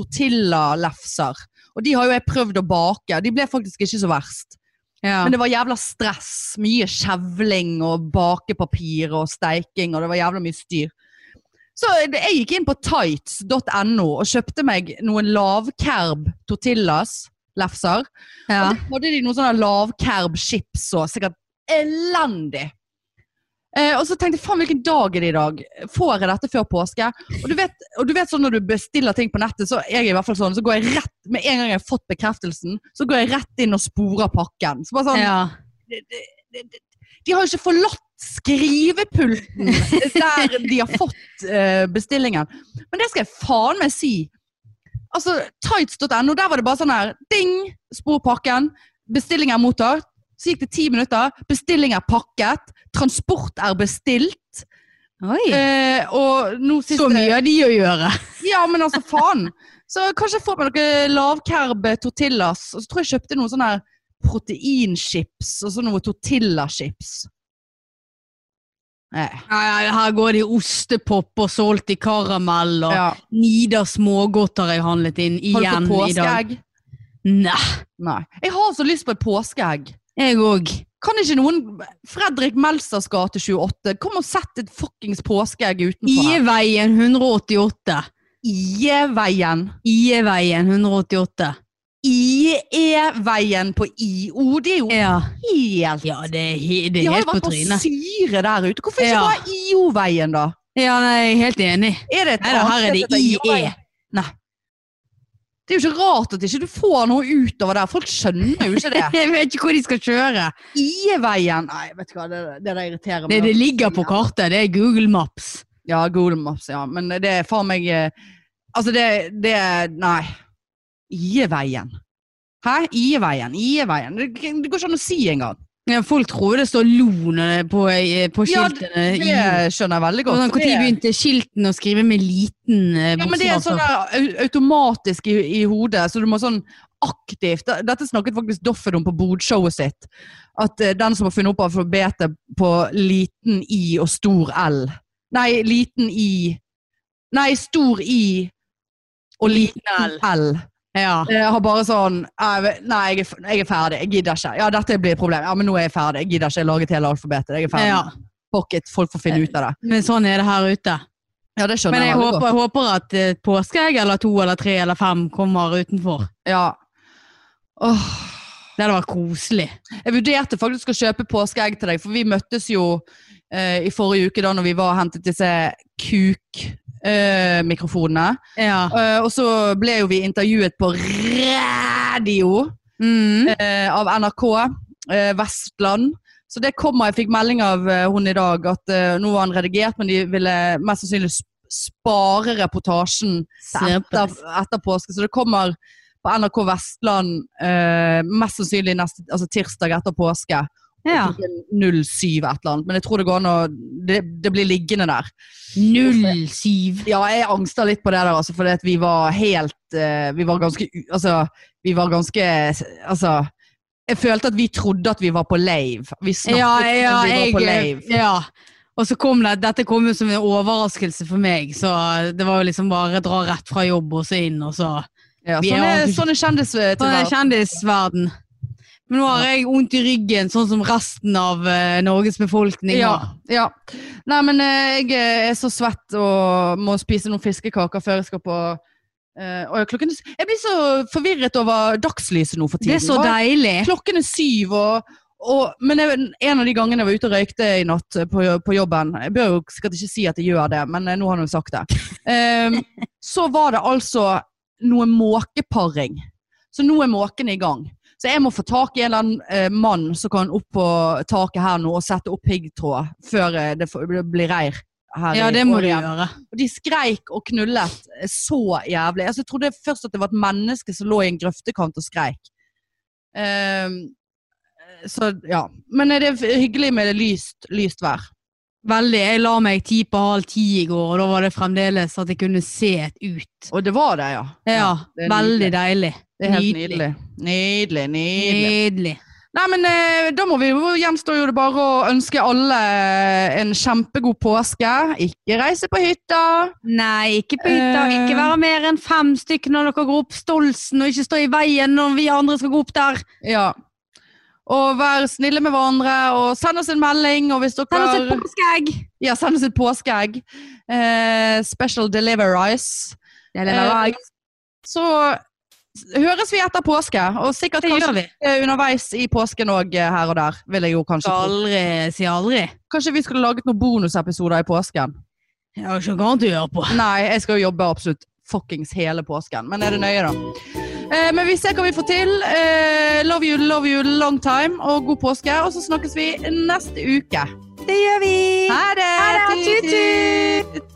[SPEAKER 1] lavkerb-tortillalefser. Og de har jo jeg prøvd å bake. De ble faktisk ikke så verst.
[SPEAKER 2] Ja.
[SPEAKER 1] Men det var jævla stress. Mye skjevling og bakepapir og steiking, og det var jævla mye styr. Så det- jeg gikk inn på tights.no og kjøpte meg noen lavkerb tortillas, lefser.
[SPEAKER 2] ja.
[SPEAKER 1] Og så hadde de noen sånne lavkerb chips og sikkert elendig. Eh, og så tenkte jeg, faen hvilken dag er det i dag? Får jeg dette før påske? Og du vet, og du vet sånn når du bestiller ting på nettet, så er jeg i hvert fall sånn, så går jeg rett, med en gang jeg har fått bekreftelsen, så går jeg rett inn og sporer pakken. Så bare sånn,
[SPEAKER 2] ja.
[SPEAKER 1] det- det- det- det- De har jo ikke forlatt skrivepulten der de har fått eh, bestillingen. Men det skal jeg faen meg si. Altså, Tights.no, der var det bare sånn her ding, spor pakken, bestilling er mottatt. Så gikk det ti minutter, bestilling er pakket, transport er bestilt.
[SPEAKER 2] Oi.
[SPEAKER 1] Eh, og nå siste
[SPEAKER 2] Så mye har de å gjøre.
[SPEAKER 1] Ja, men altså, faen! Så kanskje jeg får meg noe lavkerb tortillas. Og så tror jeg jeg kjøpte noen sånne her proteinchips og så noe tortillachips. Eh,
[SPEAKER 2] Ja, ja, her går det i ostepop og solgt i karamell og
[SPEAKER 1] ja.
[SPEAKER 2] Nida smågodter har jeg handlet inn
[SPEAKER 1] Har du
[SPEAKER 2] igjen
[SPEAKER 1] fått
[SPEAKER 2] i dag.
[SPEAKER 1] påskeegg?
[SPEAKER 2] Nei,
[SPEAKER 1] Nei. Jeg har så lyst på et påskeegg.
[SPEAKER 2] jeg òg.
[SPEAKER 1] Kan ikke noen Fredrik Melsters gate 28, kom og sett et fuckings påskeegg utenfor her.
[SPEAKER 2] Ieveien 188.
[SPEAKER 1] Ieveien.
[SPEAKER 2] Ieveien 188.
[SPEAKER 1] IE-veien på IO, det er jo
[SPEAKER 2] Ja,
[SPEAKER 1] helt
[SPEAKER 2] ja det er, he- det
[SPEAKER 1] De
[SPEAKER 2] er
[SPEAKER 1] har jo
[SPEAKER 2] helt på
[SPEAKER 1] vært på
[SPEAKER 2] trynet.
[SPEAKER 1] syre der ute. Hvorfor ikke
[SPEAKER 2] Ja.
[SPEAKER 1] bare IO-veien, da?
[SPEAKER 2] Ja, nei, jeg er helt enig.
[SPEAKER 1] Er det E. et
[SPEAKER 2] Nei, da, her er
[SPEAKER 1] annet
[SPEAKER 2] det
[SPEAKER 1] sted enn
[SPEAKER 2] IE.
[SPEAKER 1] Johan? Nei. Det er jo ikke rart at ikke du får noe utover der. Folk skjønner jo ikke det.
[SPEAKER 2] Jeg vet ikke hvor de skal kjøre.
[SPEAKER 1] IE-veien Nei, vet du hva, det, det der irriterer meg.
[SPEAKER 2] Det, det ligger på kartet. Det er Google Maps.
[SPEAKER 1] Ja, Google Maps, ja. Men det er faen meg eh, Altså, det, det Nei. IE-veien. Hæ? IE-veien, IE-veien. Det, det går ikke an å si engang.
[SPEAKER 2] Ja, folk tror det står lo når det er på, eh, på
[SPEAKER 1] Ja,
[SPEAKER 2] skiltene.
[SPEAKER 1] Det
[SPEAKER 2] Ja,
[SPEAKER 1] skjønner jeg veldig godt.
[SPEAKER 2] Når
[SPEAKER 1] Det-
[SPEAKER 2] begynte skiltene å skrive med liten eh,
[SPEAKER 1] Ja, men det er
[SPEAKER 2] bokstav?
[SPEAKER 1] sånn der au- automatisk i, i hodet, så du må sånn aktivt Da- Dette snakket faktisk Doffen om på Bodshowet sitt. At eh, den som har funnet opp alfabetet på liten i og stor L Nei, liten i Nei, stor i og liten L.
[SPEAKER 2] Ja.
[SPEAKER 1] Eh, har bare sånn eh, Nei, jeg er, f- jeg er ferdig. Jeg gidder ikke. Ja, dette blir et problem. Ja, men nå er jeg ferdig. Jeg gidder ikke. Jeg har laget hele alfabetet. Jeg er ferdig.
[SPEAKER 2] ja.
[SPEAKER 1] Fuck it. Folk får finne ut av det.
[SPEAKER 2] Men sånn er det her ute.
[SPEAKER 1] Eh, Ja, det skjønner
[SPEAKER 2] Men jeg
[SPEAKER 1] veldig godt.
[SPEAKER 2] håper, jeg håper at eh, påskeegg eller to eller tre eller fem kommer utenfor.
[SPEAKER 1] Ja. Åh.
[SPEAKER 2] Det hadde vært koselig.
[SPEAKER 1] Jeg vurderte faktisk å kjøpe påskeegg til deg, for vi møttes jo eh, i forrige uke da når vi var og hentet disse kuk eh, mikrofonene.
[SPEAKER 2] Ja.
[SPEAKER 1] Eh, og så ble jo vi intervjuet på radio
[SPEAKER 2] Mm.
[SPEAKER 1] eh, av NRK eh, Vestland. Så det kommer, jeg fikk melding av eh, hun i dag at eh, nå var han redigert, men de ville mest sannsynlig sp- spare reportasjen til etter, etter påske. Så det kommer på NRK Vestland eh, mest sannsynlig neste, altså tirsdag etter påske.
[SPEAKER 2] Ja.
[SPEAKER 1] Klokken 07 et eller annet. Men jeg tror det går an å det, det blir liggende der.
[SPEAKER 2] 07.
[SPEAKER 1] Ja, jeg angster litt på det der, altså, fordi at vi var helt eh, Vi var ganske u- Altså, vi var ganske Altså Jeg følte at vi trodde at vi var på lave. Vi snakket
[SPEAKER 2] Ja, ja,
[SPEAKER 1] som om vi var på
[SPEAKER 2] jeg, eh,
[SPEAKER 1] lave.
[SPEAKER 2] ja. Og så kom det, dette kom jo som en overraskelse for meg, så det var jo liksom bare dra rett fra jobb og så inn, og så
[SPEAKER 1] Ja,
[SPEAKER 2] vi
[SPEAKER 1] sånn
[SPEAKER 2] er
[SPEAKER 1] er, sånn er
[SPEAKER 2] jo- Sånn er
[SPEAKER 1] kjendistilværelsen.
[SPEAKER 2] kjendisverden. Men nå har jeg vondt i ryggen, sånn som resten av eh, Norges befolkning.
[SPEAKER 1] Ja,
[SPEAKER 2] har.
[SPEAKER 1] ja. Nei, men eh, jeg er så svett og må spise noen fiskekaker før jeg skal på eh, og klokken, Jeg blir så forvirret over dagslyset nå for
[SPEAKER 2] Det
[SPEAKER 1] tiden.
[SPEAKER 2] er så
[SPEAKER 1] Hva-
[SPEAKER 2] deilig.
[SPEAKER 1] Klokken er syv, og, og, men jeg, en av de gangene jeg var ute og røykte i natt eh, på, på jobben Jeg bør jo sikkert ikke si at jeg gjør det, men eh, nå har han jo sagt det. Ehm, så var det altså noe måkeparing. Så nå er måkene i gang. Så jeg må få tak i en eller annen eh, mann som kan opp på taket her nå og sette opp piggtråd før eh, det får- det blir reir. Her
[SPEAKER 2] Ja,
[SPEAKER 1] i
[SPEAKER 2] det må du
[SPEAKER 1] Århjem.
[SPEAKER 2] gjøre.
[SPEAKER 1] Og de skreik og knullet så jævlig. Altså, jeg trodde først at det var et menneske som lå i en grøftekant og skreik. Ehm, så ja. Men er det er hyggelig med det lyst, lyst vær.
[SPEAKER 2] Veldig. Jeg la meg ti på halv ti i går, og da var det fremdeles at jeg kunne se ut.
[SPEAKER 1] Og det var det, ja.
[SPEAKER 2] Ja,
[SPEAKER 1] det er
[SPEAKER 2] veldig
[SPEAKER 1] nydelig.
[SPEAKER 2] deilig.
[SPEAKER 1] Det er helt nydelig. Nydelig, nydelig.
[SPEAKER 2] Nydelig.
[SPEAKER 1] Nei, men eh, da må vi, jo- gjenstår jo det bare å ønske alle eh, en kjempegod påske. Ikke reise på hytta.
[SPEAKER 2] Nei, ikke på hytta.
[SPEAKER 1] Eh.
[SPEAKER 2] Ikke være mer enn fem stykker når dere går opp Stolsen, og ikke stå i veien når vi andre skal gå opp der.
[SPEAKER 1] Ja. Og vær snille med hverandre, og send oss en melding. Og hvis dere
[SPEAKER 2] Send oss et påskeegg!
[SPEAKER 1] Ja, send oss et påskeegg. Eh, special deliveries.
[SPEAKER 2] Det leverer jeg.
[SPEAKER 1] Så høres vi etter påske, og sikkert
[SPEAKER 2] Det
[SPEAKER 1] kanskje
[SPEAKER 2] gjør vi.
[SPEAKER 1] eh, underveis i påsken òg, her og der. vil jeg jo Kanskje tro.
[SPEAKER 2] Aldri si aldri.
[SPEAKER 1] Kanskje vi skulle laget noen bonusepisoder i påsken?
[SPEAKER 2] Jeg har ikke noe annet å gjøre på.
[SPEAKER 1] Nei, jeg skal jo jobbe absolutt fuckings hele påsken, men er det nøye, da? Eh, men vi ser hva vi får til. Eh, love you, love you, long time, og god påske. Og så snakkes vi neste uke.
[SPEAKER 2] Det gjør vi!
[SPEAKER 1] Ha det!
[SPEAKER 2] Ha det, tut,
[SPEAKER 1] Tut, tut!